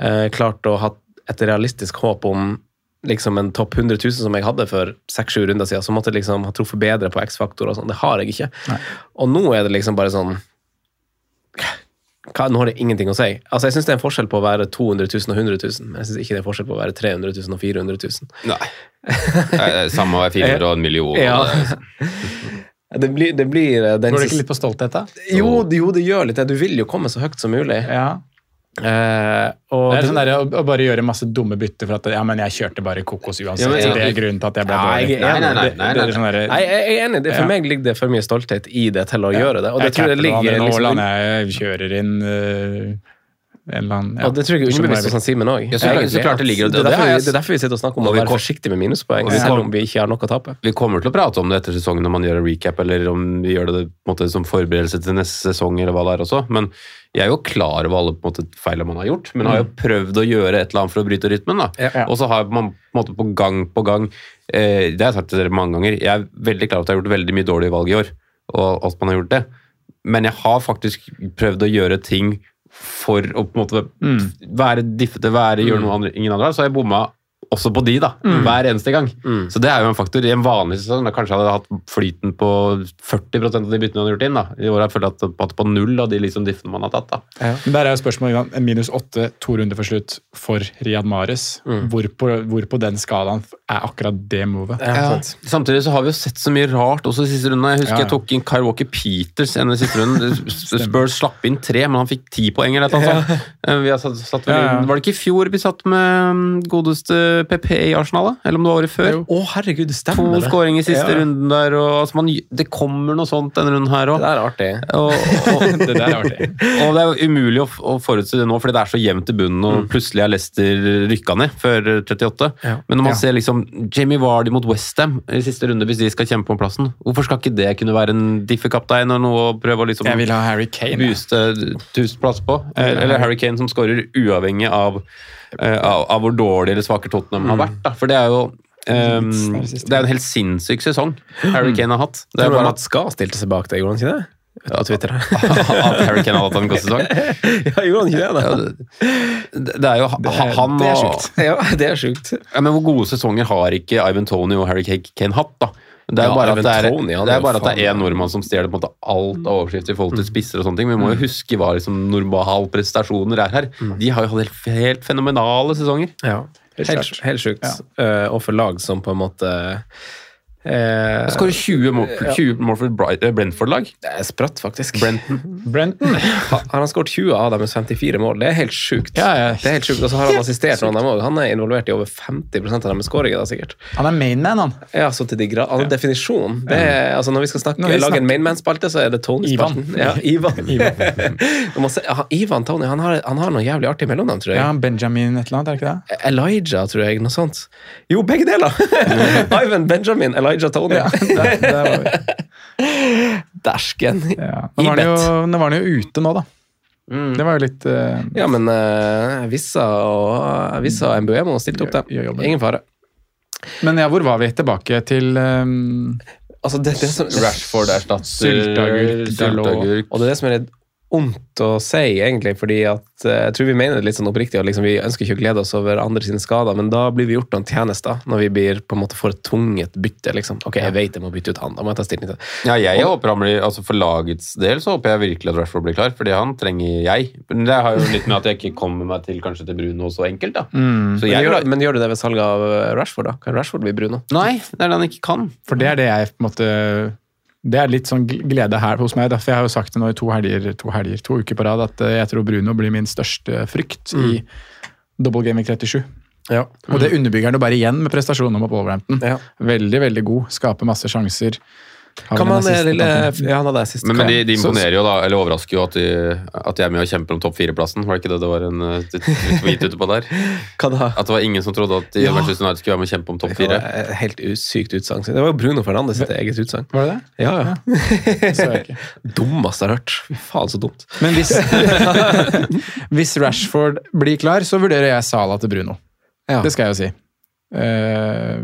Speaker 2: eh, klart å ha et realistisk håp om liksom en topp 100 000 som jeg hadde for 6-7 runder siden, så måtte jeg liksom ha truffet bedre på X-faktor og sånn. Det har jeg ikke. Og nå er det liksom bare sånn hva, Nå har det ingenting å si. Altså, Jeg syns det er en forskjell på å være 200 000 og 100 000, men jeg syns ikke det er en forskjell på å være 300 000 og 400 000.
Speaker 3: Nei. Det er Samme om jeg finner og en million.
Speaker 2: Ja. Det blir, det blir eh, den
Speaker 4: Går det ikke
Speaker 2: siste-
Speaker 4: litt på stolthet, da?
Speaker 2: jo, det- jo, det gjør litt det. Du vil jo komme så høyt som mulig.
Speaker 4: Ja.
Speaker 2: Eh, og
Speaker 4: Det er sånn der, å, å bare gjøre masse dumme bytter for at ja, men jeg kjørte bare kokos uansett.
Speaker 3: Ja, men-
Speaker 4: så det er grunnen til at jeg ble
Speaker 2: Ja, jeg
Speaker 4: dårlig.
Speaker 2: er enig.
Speaker 3: Nei, nei, nei,
Speaker 4: Det-
Speaker 3: nei,
Speaker 4: det er
Speaker 3: nei.
Speaker 4: sånn der-
Speaker 2: Nei, jeg jeg er enig. Det, for
Speaker 4: Ja.
Speaker 2: meg ligger det for mye stolthet i det til å gjøre det. Og det
Speaker 4: jeg
Speaker 2: tror jeg
Speaker 4: capper noen andre,
Speaker 2: ligger
Speaker 4: nå
Speaker 2: liksom,
Speaker 4: lander jeg kjører inn eh, en eller annen ja.
Speaker 2: Og det tror jeg er underbevisst hos han Simen òg.
Speaker 3: Ja, så klart- så klart det ligger-
Speaker 2: det, er
Speaker 3: det
Speaker 2: derfor
Speaker 3: har jeg-
Speaker 2: vi- det er derfor vi sitter og snakker om
Speaker 3: Og
Speaker 2: å
Speaker 3: vi
Speaker 2: være
Speaker 3: kom-
Speaker 2: forsiktig med minuspoeng,
Speaker 3: Og vi
Speaker 2: selv
Speaker 3: kom-
Speaker 2: om vi ikke har noe å tape.
Speaker 3: Vi kommer til å prate om det etter sesongen når man gjør en recap, eller om vi gjør det på en måte, som forberedelse til neste sesong, eller hva det er også. Men jeg er jo klar over alle på en måte, feilene man har gjort, men har jo prøvd å gjøre et eller annet for å bryte rytmen. da.
Speaker 2: Mm. Ja.
Speaker 3: Og så har man på en måte på gang på gang eh, Det har jeg sagt til dere mange ganger, jeg er veldig klar over at jeg har gjort veldig mye dårlige valg i år, og at man har gjort det. Men jeg har faktisk prøvd å gjøre ting for å på en måte være diffete, være, gjøre noe andre, ingen andre har, så har jeg bomma også på de, da. Hver eneste gang. Så det er jo en faktor. I en vanlig sesong da kanskje jeg hadde hatt flyten på 40 av de byttene jeg hadde gjort inn. da. I år har jeg følt at at på null av de liksom diffene man har tatt. da.
Speaker 4: Men Der er jo spørsmålet Ivan, en minus åtte, to runder for slutt, for Riyad Mahrez. Hvor, på, hvor på den skalaen er akkurat det movet?
Speaker 2: sant.
Speaker 3: Samtidig så har vi jo sett så mye rart også i siste runde. Jeg husker
Speaker 4: Ja, ja.
Speaker 3: jeg tok inn Kyle Walker Peters i en siste runde. Spurs slapp inn tre, men han fikk ti poeng eller noe sånt. Eh, Vi har satt, satt vel,
Speaker 4: Ja, ja.
Speaker 3: Var det ikke i fjor vi satt med mm, godeste PP i Arsenal, da? Eller om det var året før?
Speaker 2: Å, herregud, det stemmer
Speaker 3: To
Speaker 2: det.
Speaker 3: skåringer i siste
Speaker 2: Ja.
Speaker 3: runden der, og altså man, det kommer noe sånt denne runden her
Speaker 2: Det
Speaker 3: òg.
Speaker 2: der er artig.
Speaker 3: Og, og,
Speaker 4: Det der er artig.
Speaker 3: og det er jo umulig å, f- å forutse det nå, fordi det er så jevnt i bunnen, og plutselig er Leicester rykka ned før 38.
Speaker 2: Ja.
Speaker 3: Men når man
Speaker 4: Ja.
Speaker 3: ser liksom Jamie Vardy mot Westham i siste runde, hvis de skal kjempe om plassen, hvorfor skal ikke det kunne være en diffe-kaptein og noe å prøve å liksom
Speaker 4: Jeg vil ha Harry Kane. jeg.
Speaker 3: booste tusen plasser på? Eller eller Harry Kane som skårer uavhengig av, eh, av, av hvor dårlig eller svake Tottenham har vært. Da. For det er jo ehm,
Speaker 4: Litt snill siste.
Speaker 3: det er jo en helt sinnssyk sesong Harry Kane har hatt. Det
Speaker 2: Det
Speaker 3: er
Speaker 2: var
Speaker 3: bare at,
Speaker 2: Mats Gahr stilte seg bak det, gjorde han ikke det? På Twitter.
Speaker 3: at Harry Kane har hatt en god sesong.
Speaker 2: ja, gjorde han ikke det?
Speaker 3: Ja,
Speaker 2: da?
Speaker 3: det, det er jo
Speaker 4: Det er-
Speaker 3: han
Speaker 4: det er
Speaker 3: og-
Speaker 4: sjukt.
Speaker 2: Ja, det er sjukt.
Speaker 3: Ja, men Hvor gode sesonger har ikke Ivan Tony og Harry Kane Kane hatt? da? Det er
Speaker 2: Ja,
Speaker 3: jo bare, at
Speaker 2: Ivan
Speaker 3: det er,
Speaker 2: Toney, han
Speaker 3: det
Speaker 2: er
Speaker 3: er
Speaker 2: jo
Speaker 3: bare at det er
Speaker 2: faen-
Speaker 3: én nordmann som stjeler på en måte alt av overskrift i forhold til spisser og sånne ting. Men vi må jo huske hva liksom normalprestasjoner er her. De har jo hatt helt, helt fenomenale sesonger.
Speaker 2: Ja,
Speaker 4: Helt
Speaker 2: Helt,
Speaker 4: klart.
Speaker 2: helt sjukt. Eh, og for lag som på en måte
Speaker 3: Jeg
Speaker 2: eh,
Speaker 3: skårer 20 mål, 20 mål for et Bright- eh, Brentford-lag.
Speaker 2: Det er spratt, faktisk.
Speaker 3: Brenton.
Speaker 4: Brenton!
Speaker 2: Ha- Han har skåret 20 av deres 54 mål. Det er helt sjukt.
Speaker 4: Ja, ja.
Speaker 2: Det er helt sjukt. Og så har han assistert noen av dem òg. Han er involvert i over 50 av deres skåringer, da, sikkert.
Speaker 4: Han er mainman, han.
Speaker 2: Ja, så til de grad. Altså, definisjon. Det er, altså, når vi skal snakke,
Speaker 4: Når vi
Speaker 2: lage en
Speaker 4: snakker-
Speaker 2: mainman-spalte, så er det Tony-spalten.
Speaker 4: Ivan.
Speaker 2: Ja, Ivan. Og man ser- ja, Ivan Tony, han har, han har noe jævlig artig mellomnavn, tror jeg.
Speaker 4: Ja, Benjamin et eller annet, er det ikke det?
Speaker 2: Elijah, tror jeg. Noe sånt. Jo, begge deler! Ivan Benjamin, Elijah Tony.
Speaker 4: der, der var vi.
Speaker 2: Dæsken!
Speaker 4: Ja. Nå, var han jo, nå var han jo ute nå, da. Det var jo litt eh,
Speaker 2: Ja, men uh, Vissa og eh, Vissa og Mbuemo stilte opp,
Speaker 4: Gjør- gjør
Speaker 2: dem.
Speaker 4: jobben.
Speaker 2: Ingen fare.
Speaker 4: Men ja, hvor var vi? Tilbake til ehm,
Speaker 2: Altså, det, det som,
Speaker 3: Rashford erstatter
Speaker 4: Sylteagurk, Dalot.
Speaker 3: Sylteagurk.
Speaker 2: Og det er det som er litt ondt å si, egentlig, fordi at eh, jeg tror vi mener det litt sånn oppriktig, og liksom vi ønsker ikke å glede oss over andre sine skader, men da blir vi gjort noen tjenester når vi blir på en måte får et tvunget bytte, liksom. Ok, jeg vet jeg må bytte ut han, da må jeg ta stilling til det.
Speaker 3: Ja, jeg håper han blir, altså For lagets del så håper jeg virkelig at Rashford blir klar, fordi han trenger jeg. Men det har jo litt med at jeg ikke kommer meg til kanskje til Bruno så enkelt, da. Så
Speaker 2: Men,
Speaker 3: jeg,
Speaker 2: gjør, men gjør du det ved salget av eh, Rashford, da? Kan Rashford bli Bruno?
Speaker 3: nei, det er det han ikke kan.
Speaker 4: For det er det jeg på en måte Det er litt sånn gl- glede her hos meg. da, For jeg har jo sagt det nå i to helger, to, helger, to uker på rad at eh, jeg tror Bruno blir min største frykt i double game i 37.
Speaker 2: Mm. Ja.
Speaker 4: Og det underbygger han jo bare igjen med prestasjonen mot Wolverhampton.
Speaker 2: Ja.
Speaker 4: Veldig, veldig god. Skaper masse sjanser. Har
Speaker 2: Kan
Speaker 4: vel
Speaker 2: man
Speaker 4: en
Speaker 2: eh,
Speaker 4: assist på
Speaker 2: lille
Speaker 4: tampen.
Speaker 2: Ja, han hadde assist.
Speaker 3: Men, men de, de
Speaker 2: Så- så-
Speaker 3: imponerer jo, da, eller overrasker jo, at de, at de er med og kjemper om topp fire-plassen. Var det ikke det det var en eh, tweet ute på der?
Speaker 2: Hva da?
Speaker 3: At det var ingen som trodde at de
Speaker 2: Ja.
Speaker 3: Manchester United skulle være med og kjempe om topp
Speaker 2: Det var
Speaker 3: fire.
Speaker 2: et Helt u- sykt utsagn. Det var jo Bruno Fernandes sitt eget utsagn.
Speaker 4: Var det det?
Speaker 2: Ja, ja.
Speaker 4: Det så jeg ikke.
Speaker 2: Dummeste jeg har hørt. Fy faen, så dumt.
Speaker 4: Men hvis, hvis Rashford blir klar, så vurderer jeg Sala til Bruno.
Speaker 2: Ja.
Speaker 4: Det skal jeg jo si. Eh,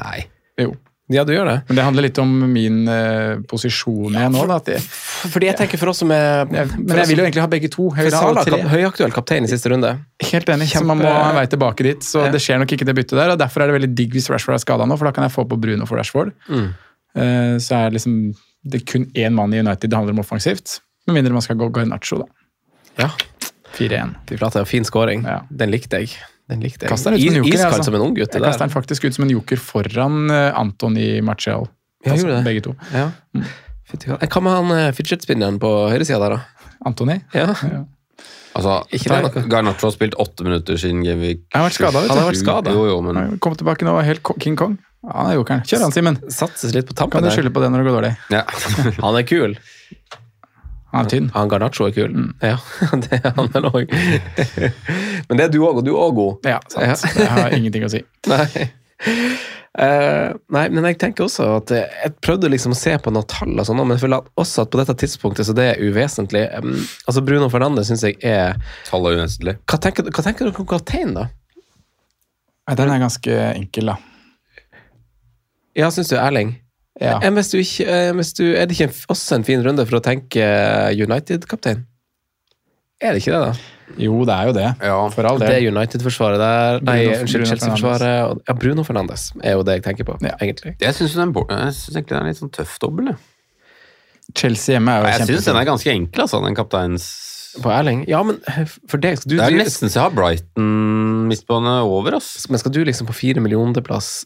Speaker 2: Nei.
Speaker 4: jo.
Speaker 2: Ja, du gjør det.
Speaker 4: Men det handler litt om min eh, posisjon igjen nå. Da, at jeg,
Speaker 2: Fordi jeg tenker for oss som er
Speaker 4: men
Speaker 2: altså,
Speaker 4: jeg vil jo egentlig ha begge to. Jeg vil ha
Speaker 2: Sala,
Speaker 4: alle tre.
Speaker 2: kap, høyaktuell kaptein i siste runde.
Speaker 4: Helt enig. Så man må
Speaker 2: Kjempe-
Speaker 4: ha en vei tilbake dit. Så
Speaker 2: Ja.
Speaker 4: det skjer nok ikke det byttet der. og Derfor er det veldig digg hvis Rashford er skada nå, for da kan jeg få på Bruno for Rashford.
Speaker 2: Mm.
Speaker 4: Eh, så er det liksom det er kun én mann i United det handler om offensivt. Med mindre man skal gå Garnaccio, da.
Speaker 2: Ja.
Speaker 4: 4-1.
Speaker 2: Fy flate, fin scoring.
Speaker 4: Ja.
Speaker 2: Den likte jeg. Den likte jeg.
Speaker 4: Kaster den ut som en
Speaker 2: Is-
Speaker 4: joker,
Speaker 2: Iskald
Speaker 4: altså.
Speaker 2: som en ung gutt. det
Speaker 4: Jeg kaster
Speaker 2: der.
Speaker 4: den faktisk ut som en joker foran eh, Anthony Martial. Altså,
Speaker 2: Ja, gjorde det.
Speaker 4: Begge to.
Speaker 2: Ja.
Speaker 4: Mm.
Speaker 2: Fytti katta. Hva med han eh, fidget spinneren på høyresida der, da?
Speaker 4: Antony?
Speaker 2: Ja.
Speaker 3: Altså,
Speaker 2: Ikke det, da.
Speaker 3: Garnaccio har spilt åtte minutter siden Genvik.
Speaker 4: Han har vært skadet, vet du.
Speaker 3: Han
Speaker 2: har vært skadet.
Speaker 3: Jo, jo, men
Speaker 4: Han Kom tilbake nå, helt ko- King Kong. Ja, Han er jokeren. Kjør han, Simen.
Speaker 2: Satses litt på tampen
Speaker 4: Kan du
Speaker 2: der.
Speaker 4: skylde på det når det går dårlig?
Speaker 3: ja.
Speaker 2: Han er kul.
Speaker 4: Han er tynn.
Speaker 2: Han Garnaccio er kul.
Speaker 4: Mm.
Speaker 2: Ja, det er han vel òg. Men det er du òg, og du er òg god.
Speaker 4: Ja, sant. Jeg har ingenting å si.
Speaker 2: Nei. Eh, nei, men jeg tenker også at eh, jeg prøvde liksom å se på noen tall, og sånn, men jeg føler at også at på dette tidspunktet så det er uvesentlig. Um, altså Bruno Fernandez syns jeg er
Speaker 3: Tallet er uvesentlig.
Speaker 2: Hva tenker, hva tenker dere om kaptein, da?
Speaker 4: Nei, Den er ganske enkel, da.
Speaker 2: Ja, syns du Erling?
Speaker 4: Ja.
Speaker 2: Eh, Hvis du ikke, eh, hvis du, er det ikke en, f- også en fin runde for å tenke eh, United-kaptein? Er det ikke det, da?
Speaker 4: Jo, det er jo det.
Speaker 3: Ja.
Speaker 4: For all
Speaker 2: Det
Speaker 4: del.
Speaker 2: er United-forsvaret der. Nei,
Speaker 4: Bruno-
Speaker 2: unnskyld,
Speaker 4: Bruno
Speaker 2: Chelsea-forsvaret. og- Ja, Bruno Fernandes er jo det jeg tenker på,
Speaker 4: Ja.
Speaker 2: egentlig.
Speaker 3: Jeg syns egentlig det er en litt sånn tøff dobbel. jeg.
Speaker 4: Chelsea hjemme er jo
Speaker 3: Jeg syns den
Speaker 4: kjempefin.
Speaker 3: er ganske enkel, altså, den kapteins
Speaker 2: På Erling? Ja, men eh, for deg skal du,
Speaker 3: Det er
Speaker 2: du
Speaker 3: nesten så jeg har Brighton midtbane over, ass.
Speaker 2: Men skal du liksom på fire millioner-plass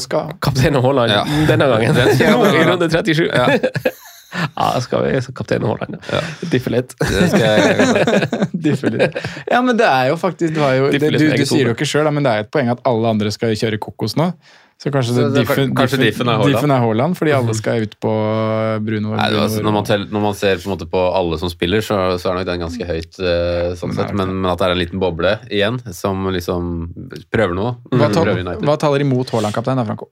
Speaker 4: skal
Speaker 2: Kaptein Haaland
Speaker 3: Ja.
Speaker 2: denne gangen?
Speaker 3: Den skal jeg
Speaker 2: I
Speaker 3: ha.
Speaker 2: runde 37?
Speaker 3: Ja.
Speaker 2: Ja, da skal vi så kaptein Haaland. Ja. Diffe litt.
Speaker 3: Det skal jeg
Speaker 4: Differlig. Ja, men det er jo faktisk det var jo, det,
Speaker 2: Differlig
Speaker 4: Du,
Speaker 2: eget
Speaker 4: du sier
Speaker 2: hode.
Speaker 4: jo ikke sjøl, men det er jo et poeng at alle andre skal kjøre kokos nå. Så kanskje, det,
Speaker 3: Så det er
Speaker 4: diffen,
Speaker 3: kanskje
Speaker 4: diffen,
Speaker 3: diffen er Haaland.
Speaker 4: diffen er Haaland, fordi alle skal ut på Bruno.
Speaker 3: Nei, det var,
Speaker 4: Bruno-
Speaker 3: når, man tel, når man ser på, en måte på alle som spiller, så, så er nok den ganske høyt. eh, sånn sett. Men, men at det er en liten boble igjen, som liksom prøver noe.
Speaker 4: hva,
Speaker 3: Mm.
Speaker 4: tal,
Speaker 3: Prøver United.
Speaker 4: hva taler imot Haaland-kaptein, da, Franco?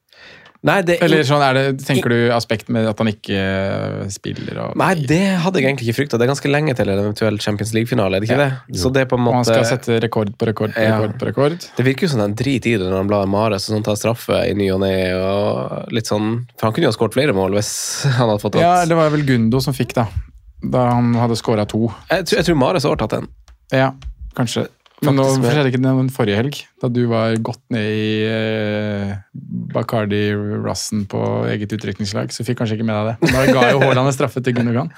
Speaker 2: Nei, det,
Speaker 4: Eller sånn, er det, tenker du aspekt med at han ikke eh, spiller og
Speaker 2: nei, det hadde jeg egentlig ikke frykta. Det er ganske lenge til en eventuell Champions League-finale. er det ikke det? Så det er på en
Speaker 4: Og han
Speaker 2: måte
Speaker 4: skal sette rekord på rekord på
Speaker 2: Ja.
Speaker 4: rekord på rekord.
Speaker 2: Det virker jo som en drit i det når han blar Mares og sånn tar straffe i ny og ne. og litt sånn, For han kunne jo ha skåret flere mål hvis han hadde fått tatt.
Speaker 4: Ja, det var vel Gundo som fikk, da. Da han hadde scora to.
Speaker 2: jeg, tror, jeg tror Mares har tatt den.
Speaker 4: Ja, kanskje. Men nå
Speaker 2: Faktisk, men-
Speaker 4: skjedde ikke det den forrige helg, da du var godt ned i eh, Bacardi Russen på eget utrykningslag, så fikk kanskje ikke med deg det. Da ga jo Haaland en straffe til Gundogan.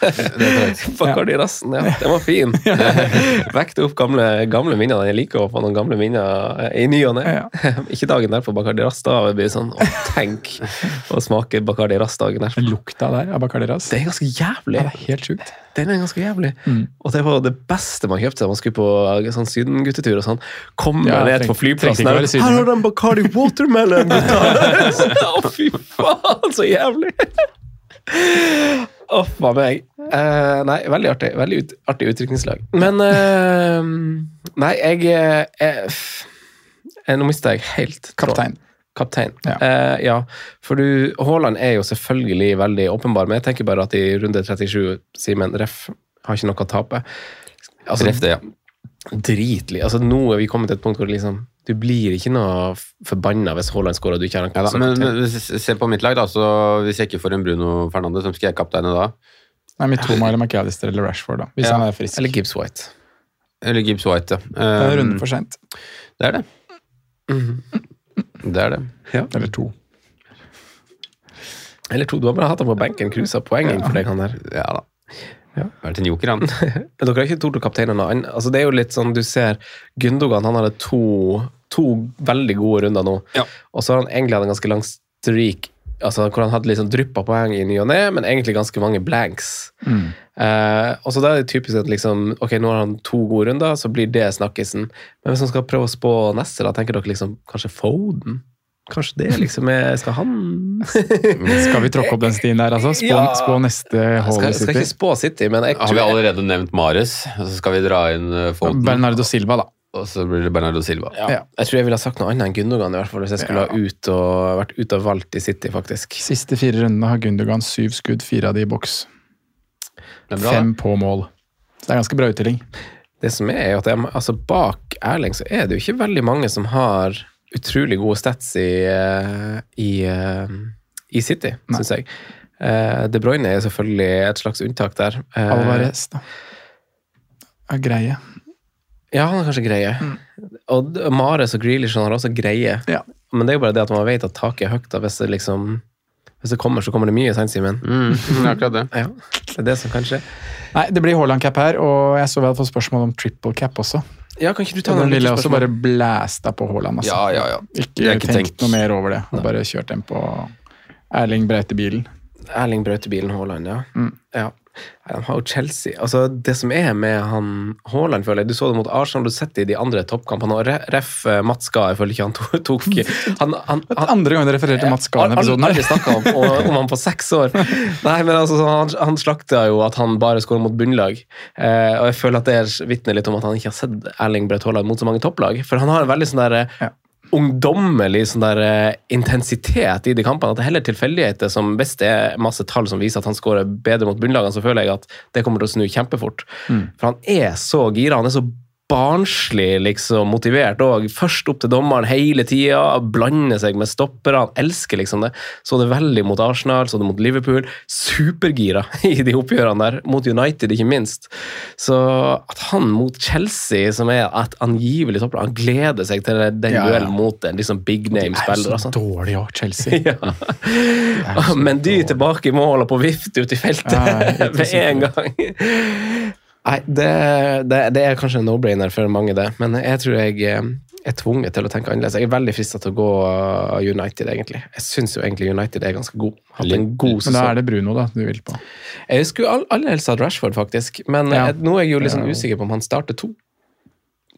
Speaker 2: Fuck ja. de resten, ja. Den var fin. Vekte opp gamle, gamle minner. Jeg liker å få noen gamle minner eh, i ny og ne.
Speaker 4: Ja.
Speaker 2: Ikke dagen derpå Bacardi Rast. Da blir det sånn å, tenk å smake Bacardi Rast dagen der.
Speaker 4: Den lukta der av Bacardi Russ.
Speaker 2: Det er ganske jævlig.
Speaker 4: Det er helt sjukt.
Speaker 2: Den er ganske jævlig.
Speaker 4: Mm.
Speaker 2: Og det var det beste man kjøpte da man skulle på eh, sånn syden-guttetur. og sånn. Kom
Speaker 4: Ja,
Speaker 2: ned
Speaker 4: tenk-
Speaker 2: på
Speaker 4: tenkte ikke
Speaker 2: flyplassen
Speaker 4: å
Speaker 2: her.
Speaker 4: være syden,
Speaker 2: Her
Speaker 4: men-
Speaker 2: har de Bacardi Watermelon, gutta! Så, Å, fy faen, så jævlig! Uff a meg. Eh, nei, veldig artig. Veldig ut, artig utdrikningslag. Men eh, Nei, jeg, eh, jeg f- eh, Nå mista jeg helt tråden.
Speaker 4: Kaptein.
Speaker 2: Kaptein.
Speaker 4: Ja.
Speaker 2: Eh, ja. For du, Haaland er jo selvfølgelig veldig åpenbar, men jeg tenker bare at i runde 37, Simen Ref har ikke noe å tape. Altså,
Speaker 3: Treff det, ja.
Speaker 2: Dritlig. Altså, nå er vi kommet til et punkt hvor det liksom, du blir ikke noe forbanna hvis Haaland scorer og du ikke har
Speaker 3: Ja,
Speaker 2: noe
Speaker 3: da,
Speaker 2: som
Speaker 3: men,
Speaker 2: kaptein.
Speaker 3: men hvis- se på mitt lag, da. Så hvis jeg ikke får en Bruno Fernandez, hvem skal jeg kapteine da?
Speaker 4: Nei, Mitoma eller McAllister eller Rashford, da. Hvis
Speaker 3: Ja,
Speaker 4: han er frisk.
Speaker 2: Eller Gibbs White.
Speaker 3: Eller Gibbs White, ja.
Speaker 4: Det er
Speaker 3: Eh,
Speaker 4: runden for sent.
Speaker 3: det er det. Det er det.
Speaker 4: Eller to.
Speaker 2: Eller to. Du har bare hatt ham på benken, cruisa poeng inn for deg, han der.
Speaker 3: Ja da. Vært en joker, han.
Speaker 2: Men dere har ikke tort å kapteine noe annet. Altså, det er jo litt sånn, du ser Gundogan han hadde to, to veldig gode runder nå.
Speaker 3: Ja.
Speaker 2: Og så har han egentlig hatt en ganske lang streak altså, hvor han hadde liksom dryppa poeng i ny og ne, men egentlig ganske mange blanks.
Speaker 4: Mm.
Speaker 2: Eh, og så da er det typisk at liksom, ok, nå har han to gode runder, så blir det snakkisen. Men hvis han skal prøve å spå neste, da tenker dere liksom kanskje Foden? Kanskje det liksom er Skal han
Speaker 4: Skal vi tråkke opp den stien der, altså? Spå,
Speaker 2: Ja.
Speaker 4: spå neste
Speaker 2: skal,
Speaker 4: Haaland
Speaker 2: skal ikke
Speaker 4: City.
Speaker 2: spå City, men jeg
Speaker 3: Har vi allerede nevnt Mares? Så skal vi dra inn eh, Foden,
Speaker 4: Bernardo Silva, da.
Speaker 3: og så blir det Bernardo Silva.
Speaker 2: Ja.
Speaker 4: Ja.
Speaker 2: Jeg tror jeg ville ha sagt noe annet enn Gundogan, i hvert fall, hvis jeg skulle
Speaker 4: Ja.
Speaker 2: ha ut og, vært ute og valgt i City, faktisk.
Speaker 4: Siste fire rundene har Gundogan syv skudd, fire av de i boks.
Speaker 3: Det er bra.
Speaker 4: Fem på mål. Så det er ganske bra uttelling.
Speaker 2: Det som er, er jo at jeg, altså, bak Erling så er det jo ikke veldig mange som har utrolig gode stats i, eh, i eh, i City, syns jeg. Eh, De Bruyne er selvfølgelig et slags unntak der. Eh,
Speaker 4: Alvarez, da. Er greie.
Speaker 2: Ja, han er kanskje greie. Og d- Mares og Grealish han har også greie.
Speaker 4: Mm. Ja.
Speaker 2: Men det er jo bare det at man vet at taket er høyt. Da, hvis, det liksom, hvis det kommer, så kommer det mye, sant, Simen?
Speaker 3: Mm, det er akkurat det.
Speaker 2: Ja, det er det som kanskje
Speaker 4: Nei, det blir Haaland-cap her, og jeg så vi hadde fått spørsmål om triple cap også.
Speaker 2: Ja, kan ikke du ta
Speaker 4: Og den
Speaker 2: noen
Speaker 4: ville jeg også
Speaker 2: lytterspørsmål?
Speaker 4: bare blæsta på Haaland, altså.
Speaker 3: Ja, ja, ja.
Speaker 4: Ikke,
Speaker 3: Det er ikke
Speaker 4: tenkt
Speaker 3: tenkt.
Speaker 4: noe mer over det. Og bare kjørt den på Erling Breite-bilen.
Speaker 2: Erling Brautebilen Haaland, ja. ja. Nei, Han har jo Chelsea. Altså, det som er med han Haaland, føler jeg Du så det mot Arsenal, du har sett det i de andre toppkampene. Og Re- Ref eh, Mats Gahr, jeg føler ikke han to- tok Han, han, han,
Speaker 4: Andre gang du refererte til Mats Gahan-episoden
Speaker 2: Alle
Speaker 4: her.
Speaker 2: snakka om, og- om han på seks år. Nei, men altså, sånn, han, han slakta jo at han bare skårer mot bunnlag. Eh, og jeg føler at det vitner litt om at han ikke har sett Erling Braut Haaland mot så mange topplag. For han har en veldig sånn der, eh,
Speaker 4: Ja.
Speaker 2: ungdommelig sånn der, eh, intensitet i de kampene. At det er heller tilfeldigheter som Hvis det er masse tall som viser at han skårer bedre mot bunnlagene, så føler jeg at det kommer til å snu kjempefort.
Speaker 4: Mm.
Speaker 2: For han er så gira. Han er så barnslig liksom, motivert og Først opp til dommeren hele tida, blander seg med stoppere. Han elsker liksom det. Så det veldig mot Arsenal, så det mot Liverpool. Supergira i de oppgjørene der. Mot United, ikke minst. Så at han mot Chelsea, som er et angivelig topplag, han gleder seg til den
Speaker 4: Ja, ja.
Speaker 2: duellen mot en liksom big
Speaker 4: Det er
Speaker 2: name-spiller.
Speaker 4: jo
Speaker 2: altså.
Speaker 4: så dårlig òg, Chelsea.
Speaker 2: Ja.
Speaker 4: så
Speaker 2: Men de
Speaker 4: dårlig.
Speaker 2: er tilbake i mål og på vift ute i feltet
Speaker 4: Ja, ja, helt
Speaker 2: med en gang. Nei, det, det, det er kanskje en no-brainer for mange, det. Men jeg tror jeg eh, er tvunget til å tenke annerledes. Jeg er veldig frista til å gå eh, United, egentlig. Jeg syns jo egentlig United er ganske god. Hatt en god
Speaker 4: Men da er
Speaker 2: sesong.
Speaker 4: det Bruno da, du vil på.
Speaker 2: Jeg skulle all, aller helst hatt Rashford, faktisk. Men
Speaker 4: Ja.
Speaker 2: eh, nå er jeg jo litt sånn
Speaker 4: Ja.
Speaker 2: usikker på om han starter to.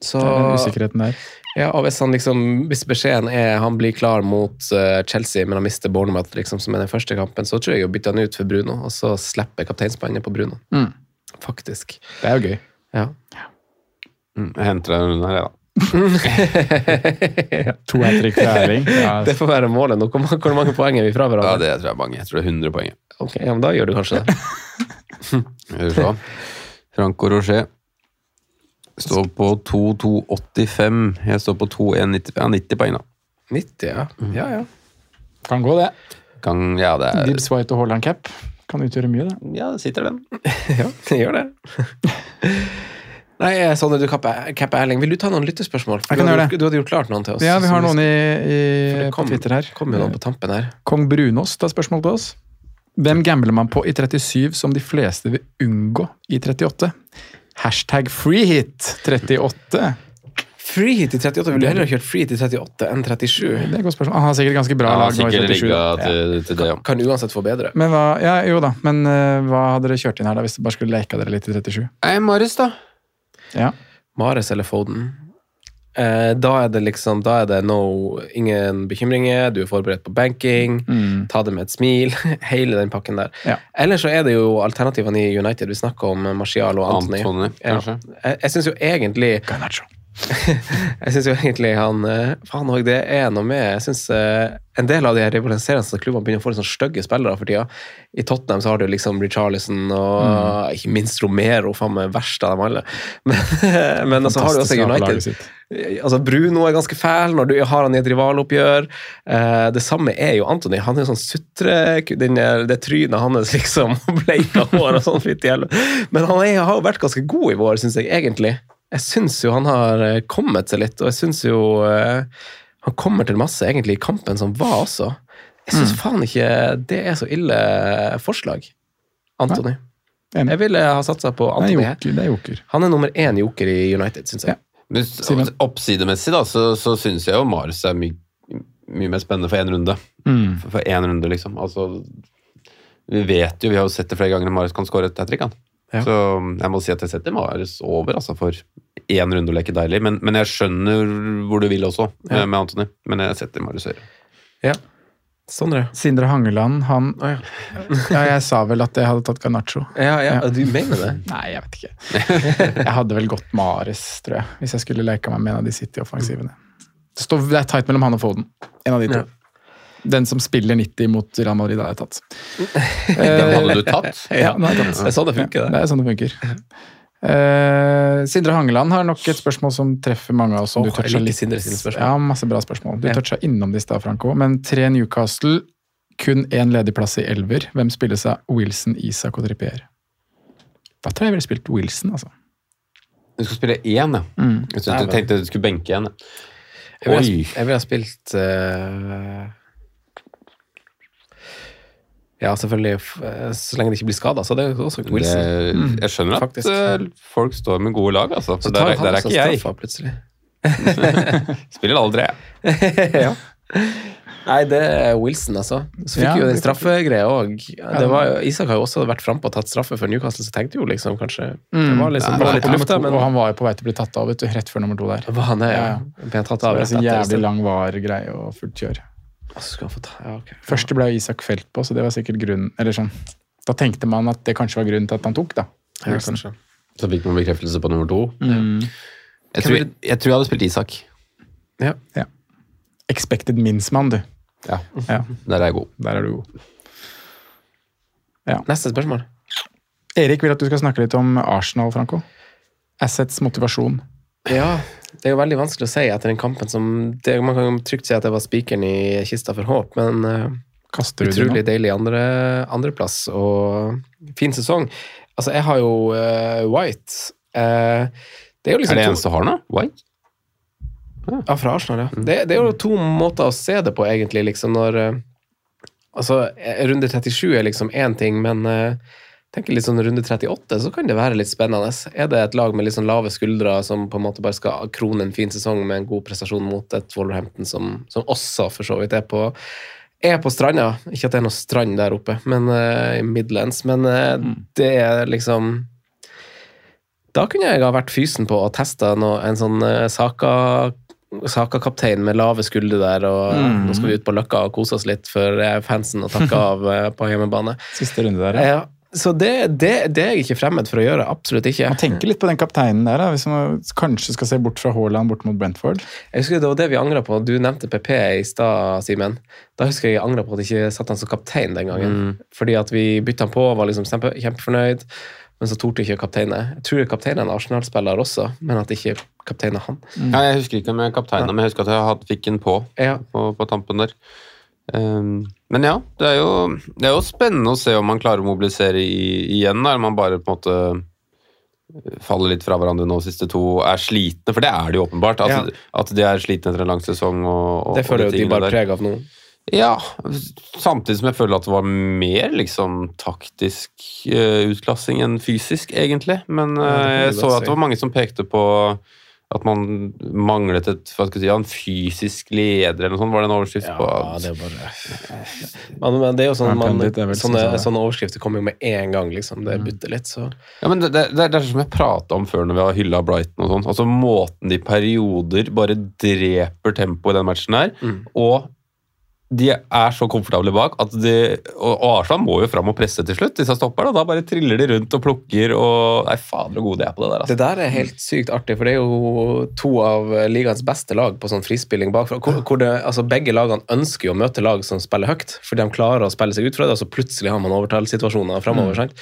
Speaker 2: Så
Speaker 4: Det er den usikkerheten der.
Speaker 2: ja, og hvis, han liksom, hvis beskjeden er han blir klar mot eh, Chelsea, men han mister Bournemouth, liksom, som er den første kampen, så tror jeg å bytte han ut for Bruno, og så slipper kapteinspannet på Bruno.
Speaker 4: Mm.
Speaker 2: Faktisk.
Speaker 4: Det er jo gøy.
Speaker 2: Ja.
Speaker 3: Mm, jeg henter deg under her, jeg, da.
Speaker 4: To hat trick fra Erling. Ja,
Speaker 2: Det får være målet nå. Hvor mange- hvor mange poeng er vi fra
Speaker 3: Ja,
Speaker 2: hverandre?
Speaker 3: det tror jeg er mange. Jeg tror det er 100 poeng. jeg.
Speaker 2: Ok, ja, men Da gjør du kanskje det.
Speaker 3: Skal vi se. Franco Rocher står på 2,285. Jeg står på 2,195. Ja, 90 poeng, da.
Speaker 2: 90, ja.
Speaker 3: Mm.
Speaker 2: ja, ja.
Speaker 4: kan gå, det.
Speaker 3: Gang, ja, det er,
Speaker 4: Dibs White og Haaland cap kan utgjøre mye, det.
Speaker 3: ja, det sitter den.
Speaker 2: ja det gjør det. Nei, eh, Sondre, du kapper kapper Erling. Vil du ta noen lyttespørsmål?
Speaker 4: Jeg
Speaker 2: du,
Speaker 4: kan
Speaker 2: hadde,
Speaker 4: gjøre
Speaker 2: jo- du hadde jo klart noen til oss.
Speaker 4: Ja, vi har
Speaker 2: som
Speaker 4: noen i, i, eh,
Speaker 2: det
Speaker 4: på
Speaker 2: kom-
Speaker 4: Twitter her.
Speaker 2: Kom jo noen på tampen her.
Speaker 4: Kong Brunås tar spørsmål til oss. Hvem gambler man på i 37 som de fleste vil unngå i 38? Hashtag freehit38.
Speaker 2: Free hit i 38. Ville du heller ha kjørt free hit i 38 enn 37?
Speaker 4: Det er et godt spørsmål. Han har sikkert ganske bra
Speaker 3: Ja,
Speaker 4: lag nå i
Speaker 3: sikkert
Speaker 4: 37.
Speaker 3: rigga
Speaker 4: da. Ja.
Speaker 3: til, til det, ja.
Speaker 2: Kan uansett få bedre.
Speaker 4: Men hva, ja, jo da, men eh, hva hadde dere kjørt inn her da, hvis dere bare skulle leka dere litt i 37?
Speaker 3: Nei, Marius, da.
Speaker 4: Ja.
Speaker 2: Mares eller Foden. Eh, da er det liksom Da er det no, ingen bekymringer, du er forberedt på banking, ta det med et smil. Hele den pakken der.
Speaker 4: Mm. Ja.
Speaker 2: Eller så er det jo alternativene i United. Vi snakker om eh, Martial og Anthony.
Speaker 3: Antony,
Speaker 2: ja.
Speaker 3: kanskje.
Speaker 2: Jeg, jeg syns jo egentlig
Speaker 4: Garnaccio.
Speaker 2: Jeg synes jo egentlig han eh, Faen òg, det er noe med Jeg synes eh, en del av de her rivaliserende klubbene begynner å få litt sånn stygge spillere for tida. I Tottenham så har du liksom Richarlison og
Speaker 4: Mm.
Speaker 2: ikke minst Romero, faen meg verst av dem alle. Men, men altså, har du også
Speaker 4: Fantastisk av laget
Speaker 2: United.
Speaker 4: sitt.
Speaker 2: Altså, Bruno er ganske fæl når du har han i et rivaloppgjør. Eh, det samme er jo Anthony. Han er jo sånn sutre den der- Det trynet hans, liksom. Bleika hår og sånn. Fytti helvete. Men han er, har jo vært ganske god i vår, syns jeg, egentlig. Jeg syns jo han har eh, kommet seg litt, og jeg syns jo eh, han kommer til masse, egentlig, i kampen som var også. Jeg syns faen ikke det er så ille forslag. Anthony.
Speaker 4: Enig.
Speaker 2: Jeg ville ha satsa på
Speaker 4: Det
Speaker 2: Anthony
Speaker 4: er
Speaker 2: her.
Speaker 4: joker. Det er joker.
Speaker 2: Han er nummer én joker i United, syns jeg.
Speaker 3: Men s- altså, oppsidemessig da, så, så syns jeg jo Marius er my, mye mer spennende for én runde. For- For én runde, liksom. Altså, vi vet jo, vi har jo sett det flere ganger, at Marius kan skåre et hat trick. han.
Speaker 2: Ja.
Speaker 3: Så jeg må si at jeg setter Marius over altså, for én runde å leke deilig. Men, men jeg skjønner hvor du vil også, med, med Antony. Men jeg setter Marius høyere.
Speaker 2: Ja. Sondre?
Speaker 4: Sindre Hangeland, han
Speaker 2: Å, ja.
Speaker 4: Ja, jeg sa vel at jeg hadde tatt Garnaccio.
Speaker 2: Ja, ja, du mener det?
Speaker 4: Nei, jeg vet ikke. Jeg hadde vel gått med Ares, tror jeg. Hvis jeg skulle leke meg med en av de City-offensivene. Det, står- det er tight mellom han og Foden. En av de to. Den som spiller 90 mot Real Madrid, har jeg tatt.
Speaker 3: Den hadde du tatt.
Speaker 4: Ja, den har jeg tatt.
Speaker 2: Det er sånn det funker,
Speaker 4: Det
Speaker 2: det.
Speaker 4: er sånn det funker. Eh, Sindre Hangeland har nok et spørsmål som treffer mange av oss. Som
Speaker 2: Åh,
Speaker 4: du
Speaker 2: jeg
Speaker 4: toucha
Speaker 2: liker
Speaker 4: litt.
Speaker 2: Sindre sine spørsmål.
Speaker 4: Ja, masse bra spørsmål. Du toucha innom det i stad, Franco. Men tre Newcastle Kun én ledig plass i elver. Hvem spilles av Wilson, Isak og Trippier? Da tror jeg jeg ville spilt Wilson, altså.
Speaker 3: Du skal spille én, ja.
Speaker 2: Mm.
Speaker 3: Jeg syntes- jeg tenkte du skulle benke igjen.
Speaker 2: Jeg ville ha,
Speaker 3: Oi.
Speaker 2: sp- jeg ville ha spilt eh, Ja, selvfølgelig. f- eh, Så lenge det ikke blir skada, så det er jo også Wilson.
Speaker 3: Det, jeg skjønner at
Speaker 2: Faktisk.
Speaker 3: eh, folk står med gode lag, altså. For
Speaker 2: Så tar
Speaker 3: der, er-
Speaker 2: han
Speaker 3: der er
Speaker 2: også
Speaker 3: ikke jeg.
Speaker 2: straffa plutselig.
Speaker 3: Spiller aldri, jeg.
Speaker 2: ja. Nei, det er Wilson, altså. Så fikk
Speaker 4: Ja,
Speaker 2: jo den
Speaker 4: det kan-
Speaker 2: straffegreia òg. Isak har jo også vært frampå og tatt straffe for Newcastle, så tenkte jo liksom kanskje
Speaker 4: Mm.
Speaker 2: Det var liksom det var litt på lufta, men
Speaker 4: sånn Og han var jo på vei til å bli tatt av, vet du, rett før nummer to der.
Speaker 2: var han det, ja.
Speaker 4: Ja, ja.
Speaker 2: Ble han tatt
Speaker 4: Det
Speaker 2: av
Speaker 4: var
Speaker 2: rett
Speaker 4: så jævlig
Speaker 2: etter?
Speaker 4: lang var-greie og fullt kjør.
Speaker 2: Så skal han få ta, ja, ok.
Speaker 4: Første ble jo Isak felt på, så det var sikkert grunnen. Eller sånn. Da tenkte man at det kanskje var grunnen til at han tok, da.
Speaker 2: Ja, kanskje.
Speaker 3: Så fikk man bekreftelse på nummer to. Jeg, tror, jeg, tror jeg hadde spilt Isak.
Speaker 2: Ja.
Speaker 4: Expected mincemann, du.
Speaker 3: Ja,
Speaker 4: Ja,
Speaker 3: Der er jeg god.
Speaker 4: der er du god.
Speaker 2: Neste spørsmål.
Speaker 4: Erik vil at du skal snakke litt om Arsenal, Franco. Assets motivasjon.
Speaker 2: Ja, det er jo veldig vanskelig å si etter den kampen som det, Man kan trygt si at det var spikeren i kista for håp, men eh,
Speaker 4: Kaster du
Speaker 2: Utrolig
Speaker 4: det nå?
Speaker 2: deilig andre, andreplass og fin sesong. Altså, jeg har jo eh, White. Eh, det er jo
Speaker 3: Er
Speaker 2: liksom
Speaker 3: det
Speaker 2: to-
Speaker 3: eneste du har nå? White?
Speaker 2: Ja, fra Arsenal, ja. Det, det er jo to måter å se det på, egentlig, liksom, når eh, Altså, eh, runde 37 er liksom én ting, men eh, tenker litt sånn runde 38, så kan det være litt spennende. Er det et lag med litt sånn lave skuldre som på en måte bare skal krone en fin sesong med en god prestasjon mot et Wolverhampton som, som også for så vidt er på er på stranda. Ikke at det er noe strand der oppe, men eh, i Midlands. Men eh, det er liksom Da kunne jeg ha vært fysen på og testa en sånn uh, Saka Saka-kaptein med lave skuldre der, og eh, nå skal vi ut på Løkka og kose oss litt for eh, fansen og takke av eh, på hjemmebane.
Speaker 4: Siste runde der, ja.
Speaker 2: Ja, så det, det, det er jeg ikke fremmed for å gjøre. Absolutt ikke.
Speaker 4: Man tenker litt på den kapteinen der, da, hvis man kanskje skal se bort fra Haaland bort mot Brentford.
Speaker 2: Jeg husker Det var det vi angra på. Du nevnte PP i stad, Simen. Da husker jeg jeg angra på at jeg ikke satte han som kaptein den gangen.
Speaker 4: Mm.
Speaker 2: Fordi at vi bytta han på og var liksom kjempe, kjempefornøyd, men så torde ikke kapteinen. Jeg tror kapteinen er en Arsenal-spiller også, men at ikke kapteinen er han.
Speaker 3: Ja, jeg husker ikke om jeg kapteina, men jeg husker at jeg hadde, fikk en på,
Speaker 2: Ja.
Speaker 3: på på tampen der. Ehm, men ja, det er, jo, det er jo spennende å se om man klarer å mobilisere i, igjen, da, eller om man bare på en måte eh, faller litt fra hverandre nå, siste to er slitne, for det er det jo åpenbart. At,
Speaker 2: Ja.
Speaker 3: at de er slitne etter en lang sesong. Og, og,
Speaker 2: Det føler
Speaker 3: og
Speaker 2: jo de
Speaker 3: tingene
Speaker 2: bare
Speaker 3: der.
Speaker 2: preg av nå.
Speaker 3: Ja, samtidig som jeg føler at det var mer liksom taktisk eh, utklassing enn fysisk, egentlig. Men eh,
Speaker 2: Ja, det kan du
Speaker 3: jeg så
Speaker 2: godt
Speaker 3: at det var mange som pekte på at man manglet et, hva skal jeg si, ja, en fysisk leder eller noe sånt, var det en overskrift på?
Speaker 2: er Men, men det er jo sånn,
Speaker 4: Ja,
Speaker 2: man,
Speaker 4: pundit er vel Mm. sånn
Speaker 2: sånne,
Speaker 4: som det.
Speaker 2: sånne overskrifter kommer jo med en gang, liksom. Det butter litt, så
Speaker 3: Ja, men det, det, det er som jeg prata om før når vi har hylla Brighton og sånn. Altså måten de i perioder bare dreper tempoet i den matchen her, og de er så komfortable bak at de Og og Arsenal må jo fram og presse til slutt, disse stopperne. Og da bare triller de rundt og plukker og Nei, fader så gode de er på det der, altså.
Speaker 2: Det der er helt sykt artig, for det er jo to av ligaens beste lag på sånn frispilling bakfra. Hvor, hvor det, altså begge lagene ønsker jo å møte lag som spiller høyt, for de klarer å spille seg ut fra det, og så plutselig har man overtalssituasjoner framover. sant?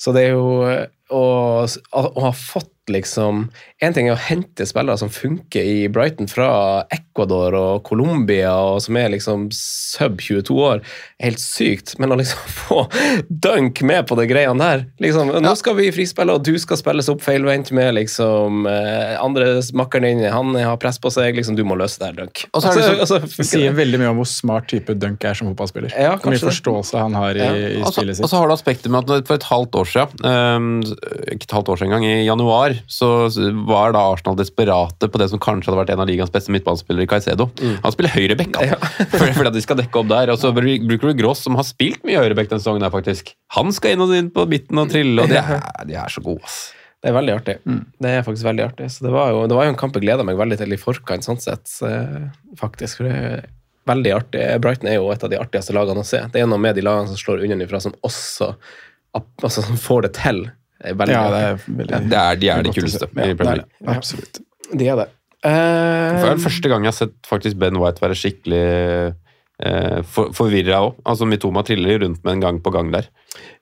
Speaker 2: Så det er jo eh, å, å ha fått liksom En ting er å hente spillere som funker i Brighton fra Ecuador og Colombia, og som er liksom sub 22 år, er helt sykt. Men å liksom få dunk med på de greiene der liksom, Nå skal vi frispille, og du skal spilles opp feilvendt med liksom eh, andre makkeren din, han har press på seg, liksom, du må løse det her, dunk.
Speaker 3: Og så er det
Speaker 2: Altså,
Speaker 3: liksom-
Speaker 2: altså,
Speaker 4: Det
Speaker 2: funker
Speaker 4: sier
Speaker 2: det.
Speaker 4: veldig mye om hvor smart type Dunk er som fotballspiller.
Speaker 2: Ja,
Speaker 4: Hvor mye
Speaker 2: kanskje det.
Speaker 4: forståelse han har i, i
Speaker 3: Og så-
Speaker 4: spillet
Speaker 3: Og
Speaker 4: sitt.
Speaker 3: så har du aspektet med at når- for et halvt år siden, ehm, ikke et halvt år siden engang, i januar, så var da Arsenal desperate på det som kanskje hadde vært en av ligaens beste midtbanespillere, Caicedo.
Speaker 4: Mm.
Speaker 3: Han spiller høyreback, han. fordi, fordi at de skal dekke opp der. Og så bru- bruker du Gross, som har spilt mye høyreback denne sesongen her, faktisk. Han skal inn og inn på midten og trille, og de er, de er så gode, ass.
Speaker 2: Det er veldig artig.
Speaker 4: Mm.
Speaker 2: Det er faktisk veldig artig. Så det var jo, det var jo en kamp jeg gleda meg veldig til i forkant, sånn sett. eh, Faktisk. For det er veldig artig. Brighton er jo et av de artigste lagene å se. Det er noe med de lagene som slår underfra, som også app- altså, som får det til. Det er veldig
Speaker 4: Ja, det er
Speaker 2: artig.
Speaker 4: veldig
Speaker 3: Det er, de er de
Speaker 4: godt å
Speaker 3: kuleste
Speaker 4: se.
Speaker 3: i
Speaker 4: Ja,
Speaker 3: Premier
Speaker 4: det er
Speaker 3: League.
Speaker 4: det. Ehm. Absolutt.
Speaker 2: De er det.
Speaker 3: Det er den
Speaker 2: Eh,
Speaker 3: første gang jeg har sett faktisk Ben White være skikkelig eh, for, forvirra òg. Altså, Mitoma triller rundt med en gang på gang der.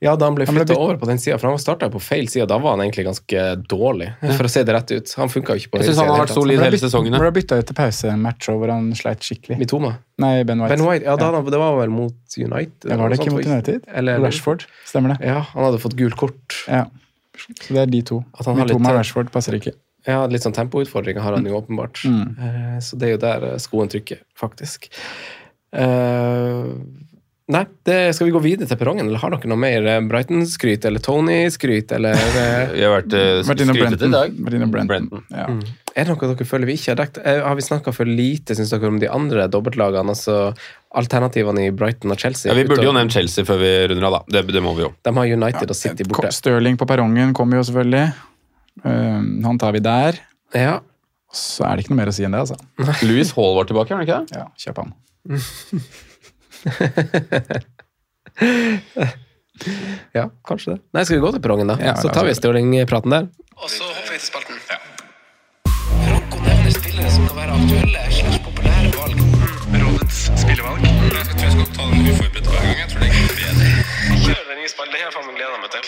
Speaker 2: Ja, da han ble
Speaker 4: Han ble
Speaker 2: flytta
Speaker 4: bytt-
Speaker 2: over på den sida, for han starta på feil side. Da var han egentlig ganske dårlig, for å se det rett ut. Han funka jo ikke på
Speaker 3: Jeg syns
Speaker 2: høyresiden
Speaker 3: han
Speaker 2: i
Speaker 3: har
Speaker 2: det hele
Speaker 3: vært
Speaker 2: tatt.
Speaker 3: solid
Speaker 4: Han ble
Speaker 3: hele
Speaker 4: bytt-
Speaker 3: sesongen.
Speaker 4: Han
Speaker 3: ja.
Speaker 4: ble bytta ut til pause en match hvor han sleit skikkelig.
Speaker 2: Mitoma.
Speaker 4: Nei, Ben White.
Speaker 2: Ben White, ja, da,
Speaker 4: Ja.
Speaker 2: det var vel mot United.
Speaker 4: Det var
Speaker 2: eller noe
Speaker 4: det ikke
Speaker 2: sånt,
Speaker 4: mot United?
Speaker 2: Eller
Speaker 4: Rashford, stemmer det.
Speaker 2: Ja, han hadde fått gult kort.
Speaker 4: Ja. Så det er de to.
Speaker 2: At han har litt- eh,
Speaker 4: Mitoma og Rashford passer ikke.
Speaker 2: Ja, litt sånn tempoutfordringer har han
Speaker 4: Mm.
Speaker 2: jo åpenbart. Eh, Så det er jo der eh, skoen trykker, faktisk. Eh, nei, det, skal vi gå videre til perrongen, eller har dere noe mer eh, Brighton-skryt eller Tony-skryt? Eller eh,
Speaker 3: Vi har vært eh,
Speaker 4: Vært innom
Speaker 3: skrytete i
Speaker 4: Brenton.
Speaker 3: dag.
Speaker 4: Vært innom Brenton.
Speaker 3: Brenton.
Speaker 4: Ja.
Speaker 2: er det noe dere føler vi ikke har dekket? Eh, har vi snakka for lite, syns dere, om de andre dobbeltlagene? Altså alternativene i Brighton og Chelsea?
Speaker 3: Ja, vi burde jo
Speaker 2: utover-
Speaker 3: nevnt Chelsea før vi runder av, da. Det, det må vi jo.
Speaker 2: De har United og City borte.
Speaker 4: Stirling på perrongen kommer jo selvfølgelig. Eh, han tar vi der.
Speaker 2: Ja,
Speaker 4: Så er det ikke noe mer å si enn det, altså.
Speaker 3: Louis Hall var tilbake, var han ikke det?
Speaker 4: Ja, kjøp han.
Speaker 2: ja, kanskje det. Nei, skal vi gå til perrongen, da?
Speaker 4: Ja,
Speaker 2: så
Speaker 4: ja,
Speaker 2: tar vi
Speaker 4: så-
Speaker 2: Stirling-praten der.
Speaker 5: Og så hopper vi til spalten. Franco nevner spillere som kan være aktuelle slags populære valg. Rådets spillevalg. Jeg tror jeg skal ta den uforberedt hver gang. Jeg tror det er bedre. Kjør den i spillet. Det har jeg faen meg gleda meg til.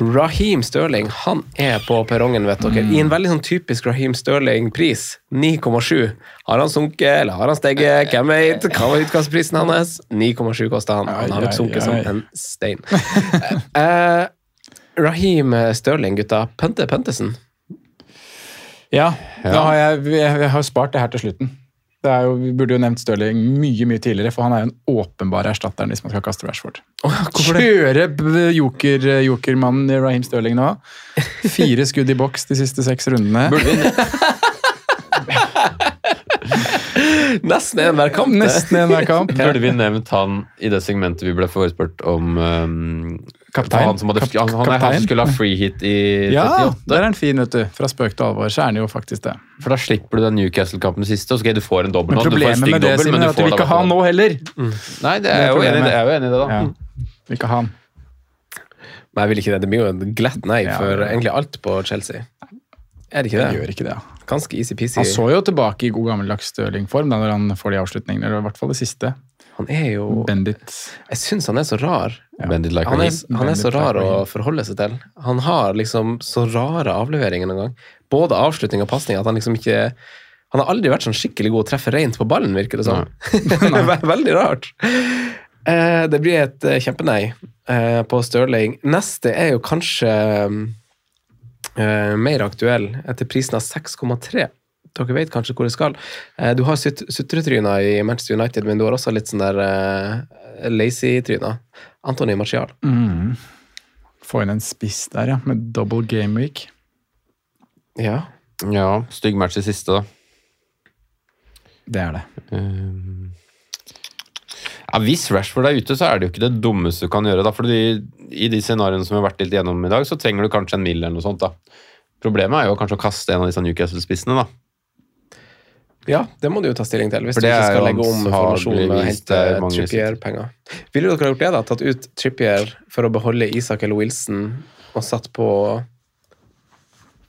Speaker 2: Raheem Sterling han er på perrongen, vet dere. I en veldig sånn typisk Raheem Sterling-pris. 9,7. Har han sunket, eller har han steget? Hvem vet? Hva var utkastprisen hans? 9,7 kosta han. Han har nok sunket som en stein. Eh, Raheem Sterling, gutta. Pente Pentesen.
Speaker 4: Ja, Da har jeg, jeg, jeg har spart det her til slutten. Det er jo, vi burde jo nevnt Stirling mye mye tidligere, for han er jo den åpenbare erstatteren hvis man skal kaste Rashford. Kjøre b- joker, eh, jokermannen Raheem Stirling nå. Fire skudd i boks de siste seks rundene.
Speaker 2: Nesten enhver kamp. det.
Speaker 4: Nesten enhver kamp.
Speaker 3: Burde vi nevnt han i det segmentet vi ble forespurt om um,
Speaker 4: Kaptein.
Speaker 3: Han som hadde,
Speaker 4: Kap-
Speaker 3: han, han, er han
Speaker 4: kaptein.
Speaker 3: som skulle ha free hit i
Speaker 4: Ja,
Speaker 3: 38.
Speaker 4: der er han fin, vet du. Fra spøk til alvor så er han jo faktisk det.
Speaker 3: For da slipper du den Newcastle-kampen siste, og så ok, du får en dobbel.
Speaker 4: Men
Speaker 3: nå. du får en
Speaker 4: problemet
Speaker 3: stygg
Speaker 4: med det
Speaker 3: dobbel,
Speaker 4: Simen,
Speaker 3: men du
Speaker 4: er at vi
Speaker 3: får
Speaker 4: vil ikke ha han nå heller.
Speaker 3: Nei, det
Speaker 4: Det
Speaker 3: er
Speaker 4: er
Speaker 3: jo enig i det, jeg er jo enig i det da.
Speaker 4: Ja. Vi ikke ha han.
Speaker 2: Nei, jeg vil ikke det. Det blir jo en glatt nei
Speaker 4: Ja.
Speaker 2: for egentlig alt på Chelsea. Er det ikke
Speaker 4: Vi
Speaker 2: det?
Speaker 4: gjør ikke det.
Speaker 2: Ganske easy-peasy.
Speaker 4: Han så jo tilbake i god gammeldags Stirling-form da når han får de avslutningene, eller i hvert fall det siste.
Speaker 2: Han er jo
Speaker 4: Bendit.
Speaker 2: Jeg syns han er så rar.
Speaker 3: Bend it like
Speaker 2: han,
Speaker 3: a
Speaker 2: er,
Speaker 3: release.
Speaker 2: han er så
Speaker 4: Veldig
Speaker 2: rar å
Speaker 4: takk.
Speaker 2: forholde seg til. Han har liksom så rare avleveringer noen gang. Både avslutning og pasning. At han liksom ikke Han har aldri vært sånn skikkelig god å treffe rent på ballen, virker det som. Ve- Veldig rart. Eh, Det blir et eh, kjempenei eh, på Stirling. Neste er jo kanskje eh, mer aktuell, etter prisen av 6,3. Dere vet kanskje hvor det skal. Eh, Du har sut- sutretryna i Manchester United, men du har også litt sånn der eh, lazy-tryna. Antony Martial.
Speaker 4: Mm. Få inn en spiss der, ja, med double game week.
Speaker 2: Ja.
Speaker 3: Ja, stygg match i siste, da.
Speaker 4: Det er det.
Speaker 3: Um, Ja, hvis Rashford er ute, så er det jo ikke det dummeste du kan gjøre. Da. Fordi I de scenarioene som vi har vært litt gjennom i dag, så trenger du kanskje en mill. eller noe sånt. da. Problemet er jo kanskje å kaste en av disse Newcastle-spissene. da.
Speaker 2: ja, det må du jo ta stilling til, hvis
Speaker 3: For
Speaker 2: du
Speaker 3: det
Speaker 2: ikke
Speaker 3: er
Speaker 2: skal
Speaker 3: jo
Speaker 2: legge om formasjonen og
Speaker 3: antageligvis
Speaker 2: hente
Speaker 3: det mange
Speaker 2: Trippier-penger. Ville dere ha gjort det, da? Tatt ut Trippier for å beholde Isak eller Wilson, og satt på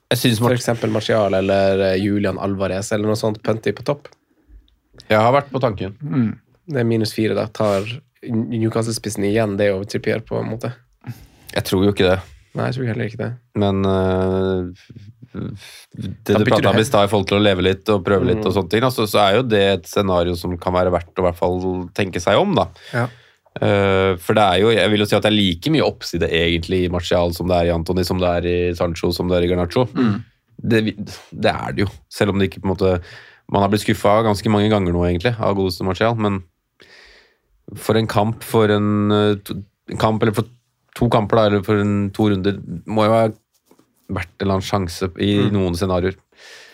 Speaker 3: Jeg synes Mart-
Speaker 2: f.eks. Martial eller eh, Julian Alvarez eller noe sånt pønti på topp?
Speaker 3: Jeg har vært på tanken.
Speaker 2: Det er minus fire, da. Tar Newcastle-spissen igjen det over Trippier, på en måte?
Speaker 3: Jeg tror jo ikke det.
Speaker 2: Nei, jeg tror heller ikke det.
Speaker 3: Men øh, det
Speaker 2: Da bytter du
Speaker 3: du prata om i
Speaker 2: helt. Mm.
Speaker 3: stad i forhold til å leve litt og prøve litt, og sånne ting, da, så, så er jo det et scenario som kan være verdt å i hvert fall tenke seg om. da.
Speaker 2: Ja.
Speaker 3: Eh, for det er jo, jeg vil jo si at det er like mye oppside egentlig i Martial som det er i Antony, som det er i Sancho, som det er i Garnaccio. Det, vi- det er det jo, selv om det ikke på en måte Man har blitt skuffa ganske mange ganger nå, egentlig, av godeste Martial, men for en kamp, for en, eh, to, en kamp, eller for to kamper, da, eller for en, to runder, må jo ha vært en eller annen sjanse i noen scenarioer.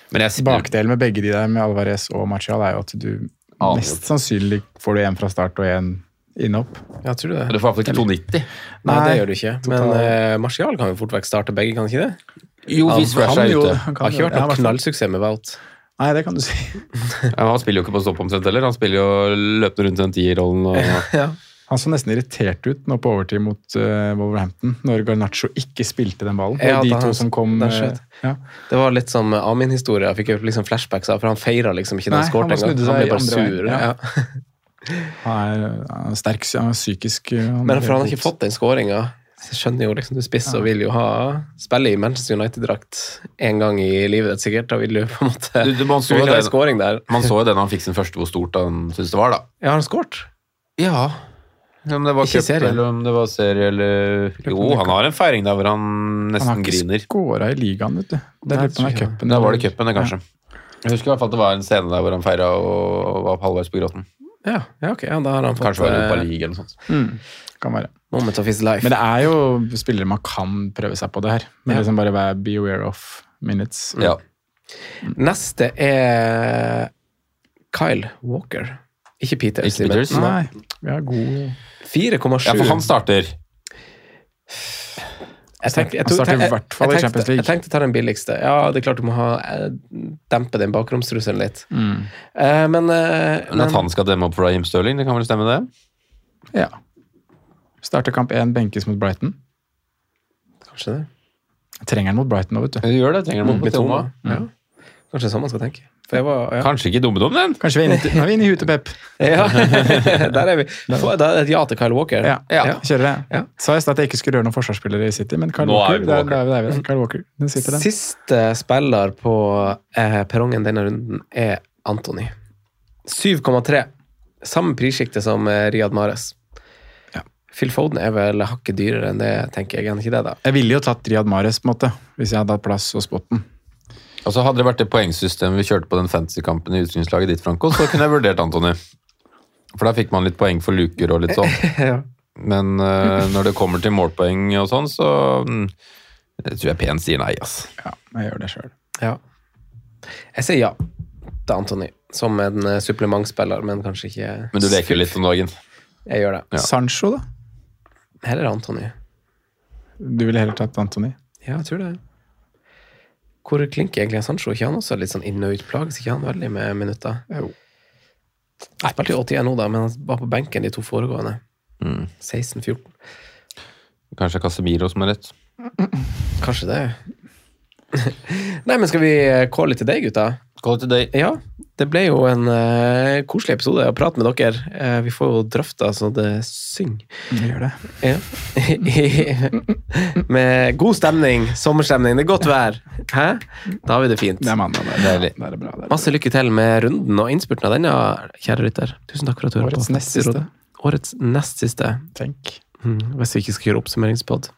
Speaker 3: Men jeg
Speaker 4: Bakdelen med begge de der, med Alvarez og Martial, er jo at du
Speaker 3: Aner
Speaker 4: mest sannsynlig får du en fra start og en innhopp.
Speaker 2: Ja, tror du det?
Speaker 3: Du får i hvert fall ikke
Speaker 2: Nei,
Speaker 3: 2,90.
Speaker 2: det
Speaker 4: Nei,
Speaker 2: gjør du ikke. Men
Speaker 4: total-
Speaker 2: eh, Martial kan jo fort vekk starte begge, kan han ikke det?
Speaker 3: Jo, hvis Rush er ute.
Speaker 4: han
Speaker 2: Har
Speaker 4: kan
Speaker 2: ikke
Speaker 4: gjøre
Speaker 2: vært noe
Speaker 4: det. Ja,
Speaker 2: knallsuksess med Wout.
Speaker 4: Nei, det kan du si.
Speaker 3: Ja, men han spiller jo ikke på stopp omtrent heller. Han spiller jo løpende rundt den tierrollen. Og...
Speaker 4: Han så nesten irritert ut nå på overtid mot eh, Wolverhampton, når Garnaccio ikke spilte den ballen. Det
Speaker 2: Ja,
Speaker 4: var de
Speaker 2: da han-
Speaker 4: to som kom
Speaker 2: den
Speaker 4: eh,
Speaker 2: skjøt.
Speaker 4: ja.
Speaker 2: Det var litt som Amin-historie. Jeg fikk jo liksom flashbacks av, for han feira liksom ikke
Speaker 4: Nei,
Speaker 2: den
Speaker 4: han
Speaker 2: skåret
Speaker 4: bare
Speaker 2: engang.
Speaker 4: snudde
Speaker 2: Han
Speaker 4: seg
Speaker 2: ble bare
Speaker 4: andre veien,
Speaker 2: sur. Ja.
Speaker 4: Han er, han er sterk han er psykisk. eh, Han
Speaker 2: Men for han har ikke fått den skåringa. Så jeg skjønner jo liksom du er spiss og vil jo ha spille i Manchester United-drakt en gang i livet ditt, sikkert. Da vil du på en måte
Speaker 3: Du- du- man så
Speaker 2: vil ha en
Speaker 3: det-
Speaker 2: scoring der.
Speaker 3: Man så jo den han fikk sin første, hvor stort han syntes det var, da.
Speaker 2: Ja, har han skåret?
Speaker 3: Ja. Om det var
Speaker 2: Ikke
Speaker 3: cup,
Speaker 2: serie.
Speaker 3: eller om det var serie, eller Jo, han har en feiring der hvor han nesten
Speaker 4: Han har ikke
Speaker 3: griner.
Speaker 4: skåra i ligaen, vet du. Det
Speaker 2: Nei,
Speaker 4: lurer på om det er
Speaker 2: tror ikke
Speaker 4: cupen.
Speaker 3: Da var det cupen, det, kanskje. Jeg husker i hvert fall at det var en scene der hvor han feira og var halvveis på gråten.
Speaker 2: Ja, ja ok. Ja, da har han fått
Speaker 3: Kanskje var det
Speaker 2: eh,
Speaker 3: Europa League eller noe sånt.
Speaker 4: Kan være.
Speaker 2: Moment of his life.
Speaker 4: Men det er jo spillere man kan prøve seg på det her. Men liksom bare være be aware of minutes.
Speaker 3: Ja.
Speaker 2: Neste er Kyle Walker. Ikke Peter.
Speaker 3: Ikke
Speaker 2: Simen.
Speaker 3: Peters.
Speaker 4: Nei, vi er gode
Speaker 2: 4,7.
Speaker 3: ja, for han starter.
Speaker 2: Jeg tenkte, jeg,
Speaker 4: Han starter
Speaker 2: tok- jeg,
Speaker 4: i hvert fall
Speaker 2: jeg,
Speaker 4: i
Speaker 2: tenkte,
Speaker 4: Champions League.
Speaker 2: jeg tenkte ta den billigste. Ja, det er klart du må ha, eh, dempe den bakromstrusselen litt.
Speaker 4: Mm.
Speaker 2: Eh, men, eh,
Speaker 3: Men at
Speaker 2: men
Speaker 3: han skal demme opp for Raheem Sterling, det kan vel stemme, det?
Speaker 4: Ja. Starter kamp én, benkes mot Brighton.
Speaker 2: Kanskje det.
Speaker 4: Trenger han mot Brighton nå, vet du.
Speaker 3: Du gjør det, trenger du
Speaker 2: Med Toma. Ja. Kanskje det er sånn man skal tenke. For jeg var, ja.
Speaker 3: Kanskje ikke dummedom, den.
Speaker 4: Kanskje vi er inne, til- nå er vi inne i huet til Pep.
Speaker 2: Ja, der er vi. Få- Da er det et ja til Kyle Walker.
Speaker 4: Ja,
Speaker 2: Ja.
Speaker 4: kjører det.
Speaker 2: Ja.
Speaker 4: Sa jeg i stad at jeg ikke skulle røre noen forsvarsspillere i City, men Carl
Speaker 3: Nå er
Speaker 4: Walker,
Speaker 3: vi på
Speaker 4: der,
Speaker 3: Walker.
Speaker 4: der, er vi- der, er vi der. Carl Walker. Den sitter den.
Speaker 2: Siste spiller på eh, perrongen denne runden er Anthony. 7,3. Samme prissjikte som eh, Riyad Mahrez.
Speaker 4: Ja.
Speaker 2: Phil Foden er vel hakket dyrere enn det, tenker jeg. Er han ikke det, da?
Speaker 4: Jeg ville jo tatt Riyad Mahrez, på en måte, hvis jeg hadde hatt plass og spotten.
Speaker 3: Og så Altså, Hadde det vært det poengsystemet vi kjørte på den fantasy-kampen i utstillingslaget ditt, Franco, så kunne jeg vurdert Antony. For da fikk man litt poeng for luker og litt sånn.
Speaker 2: Ja.
Speaker 3: Men eh, når det kommer til målpoeng og sånn, så mm, jeg tror jeg Pen sier nei, ass.
Speaker 4: Ja, jeg gjør det sjøl.
Speaker 2: Ja. Jeg sier ja til Anthony, som en eh, supplementspiller, men kanskje ikke
Speaker 3: Men du leker jo litt om dagen.
Speaker 2: Jeg gjør det.
Speaker 3: Ja.
Speaker 4: Sancho, da?
Speaker 2: Heller Anthony.
Speaker 4: Du ville heller tatt Antony.
Speaker 2: Ja, jeg tror det. Hvor klinker egentlig er Sancho? Ikke han også litt sånn inn- og utplages? Ikke han veldig med minutter?
Speaker 4: Jo.
Speaker 2: Han spilte jo 81 nå, da, men han var på benken de to foregående.
Speaker 3: Mm.
Speaker 2: 16-14.
Speaker 3: Kanskje Casemiro som har rett.
Speaker 2: Kanskje det. Nei, men skal vi eh, calle til deg, gutta?
Speaker 3: Call it a day.
Speaker 2: Ja, det ble jo en eh, koselig episode å prate med dere. Eh, vi får jo drøfta så det synger.
Speaker 4: Vi gjør det.
Speaker 2: Ja. med god stemning, sommerstemning, det er godt vær. Hæ? Da har vi det fint.
Speaker 4: Det er mandag. Det er, det er bra. Det er.
Speaker 2: Masse lykke til med runden og innspurten av denne, kjære lytter. Tusen takk for at du
Speaker 4: Årets
Speaker 2: på.
Speaker 4: nest siste.
Speaker 2: Årets nest siste.
Speaker 4: Tenk.
Speaker 2: Mm, hvis vi ikke skal gjøre oppsummeringspod.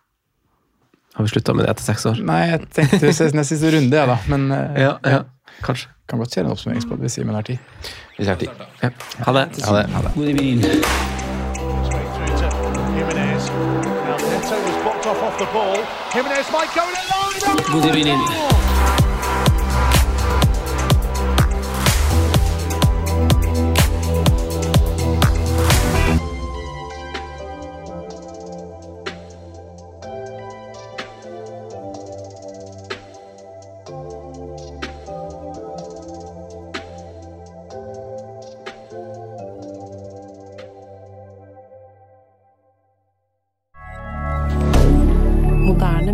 Speaker 2: Har vi slutta med det etter seks år?
Speaker 4: Nei, jeg tenkte vi ses neste siste runde, jeg, da. Men eh,
Speaker 2: Ja, ja. Kanskje.
Speaker 4: kan godt kjøre en oppsummeringspod hvis Simen har tid.
Speaker 3: Vi ser tid.
Speaker 2: Ja. Ha det.
Speaker 3: Ha det.
Speaker 1: Moderne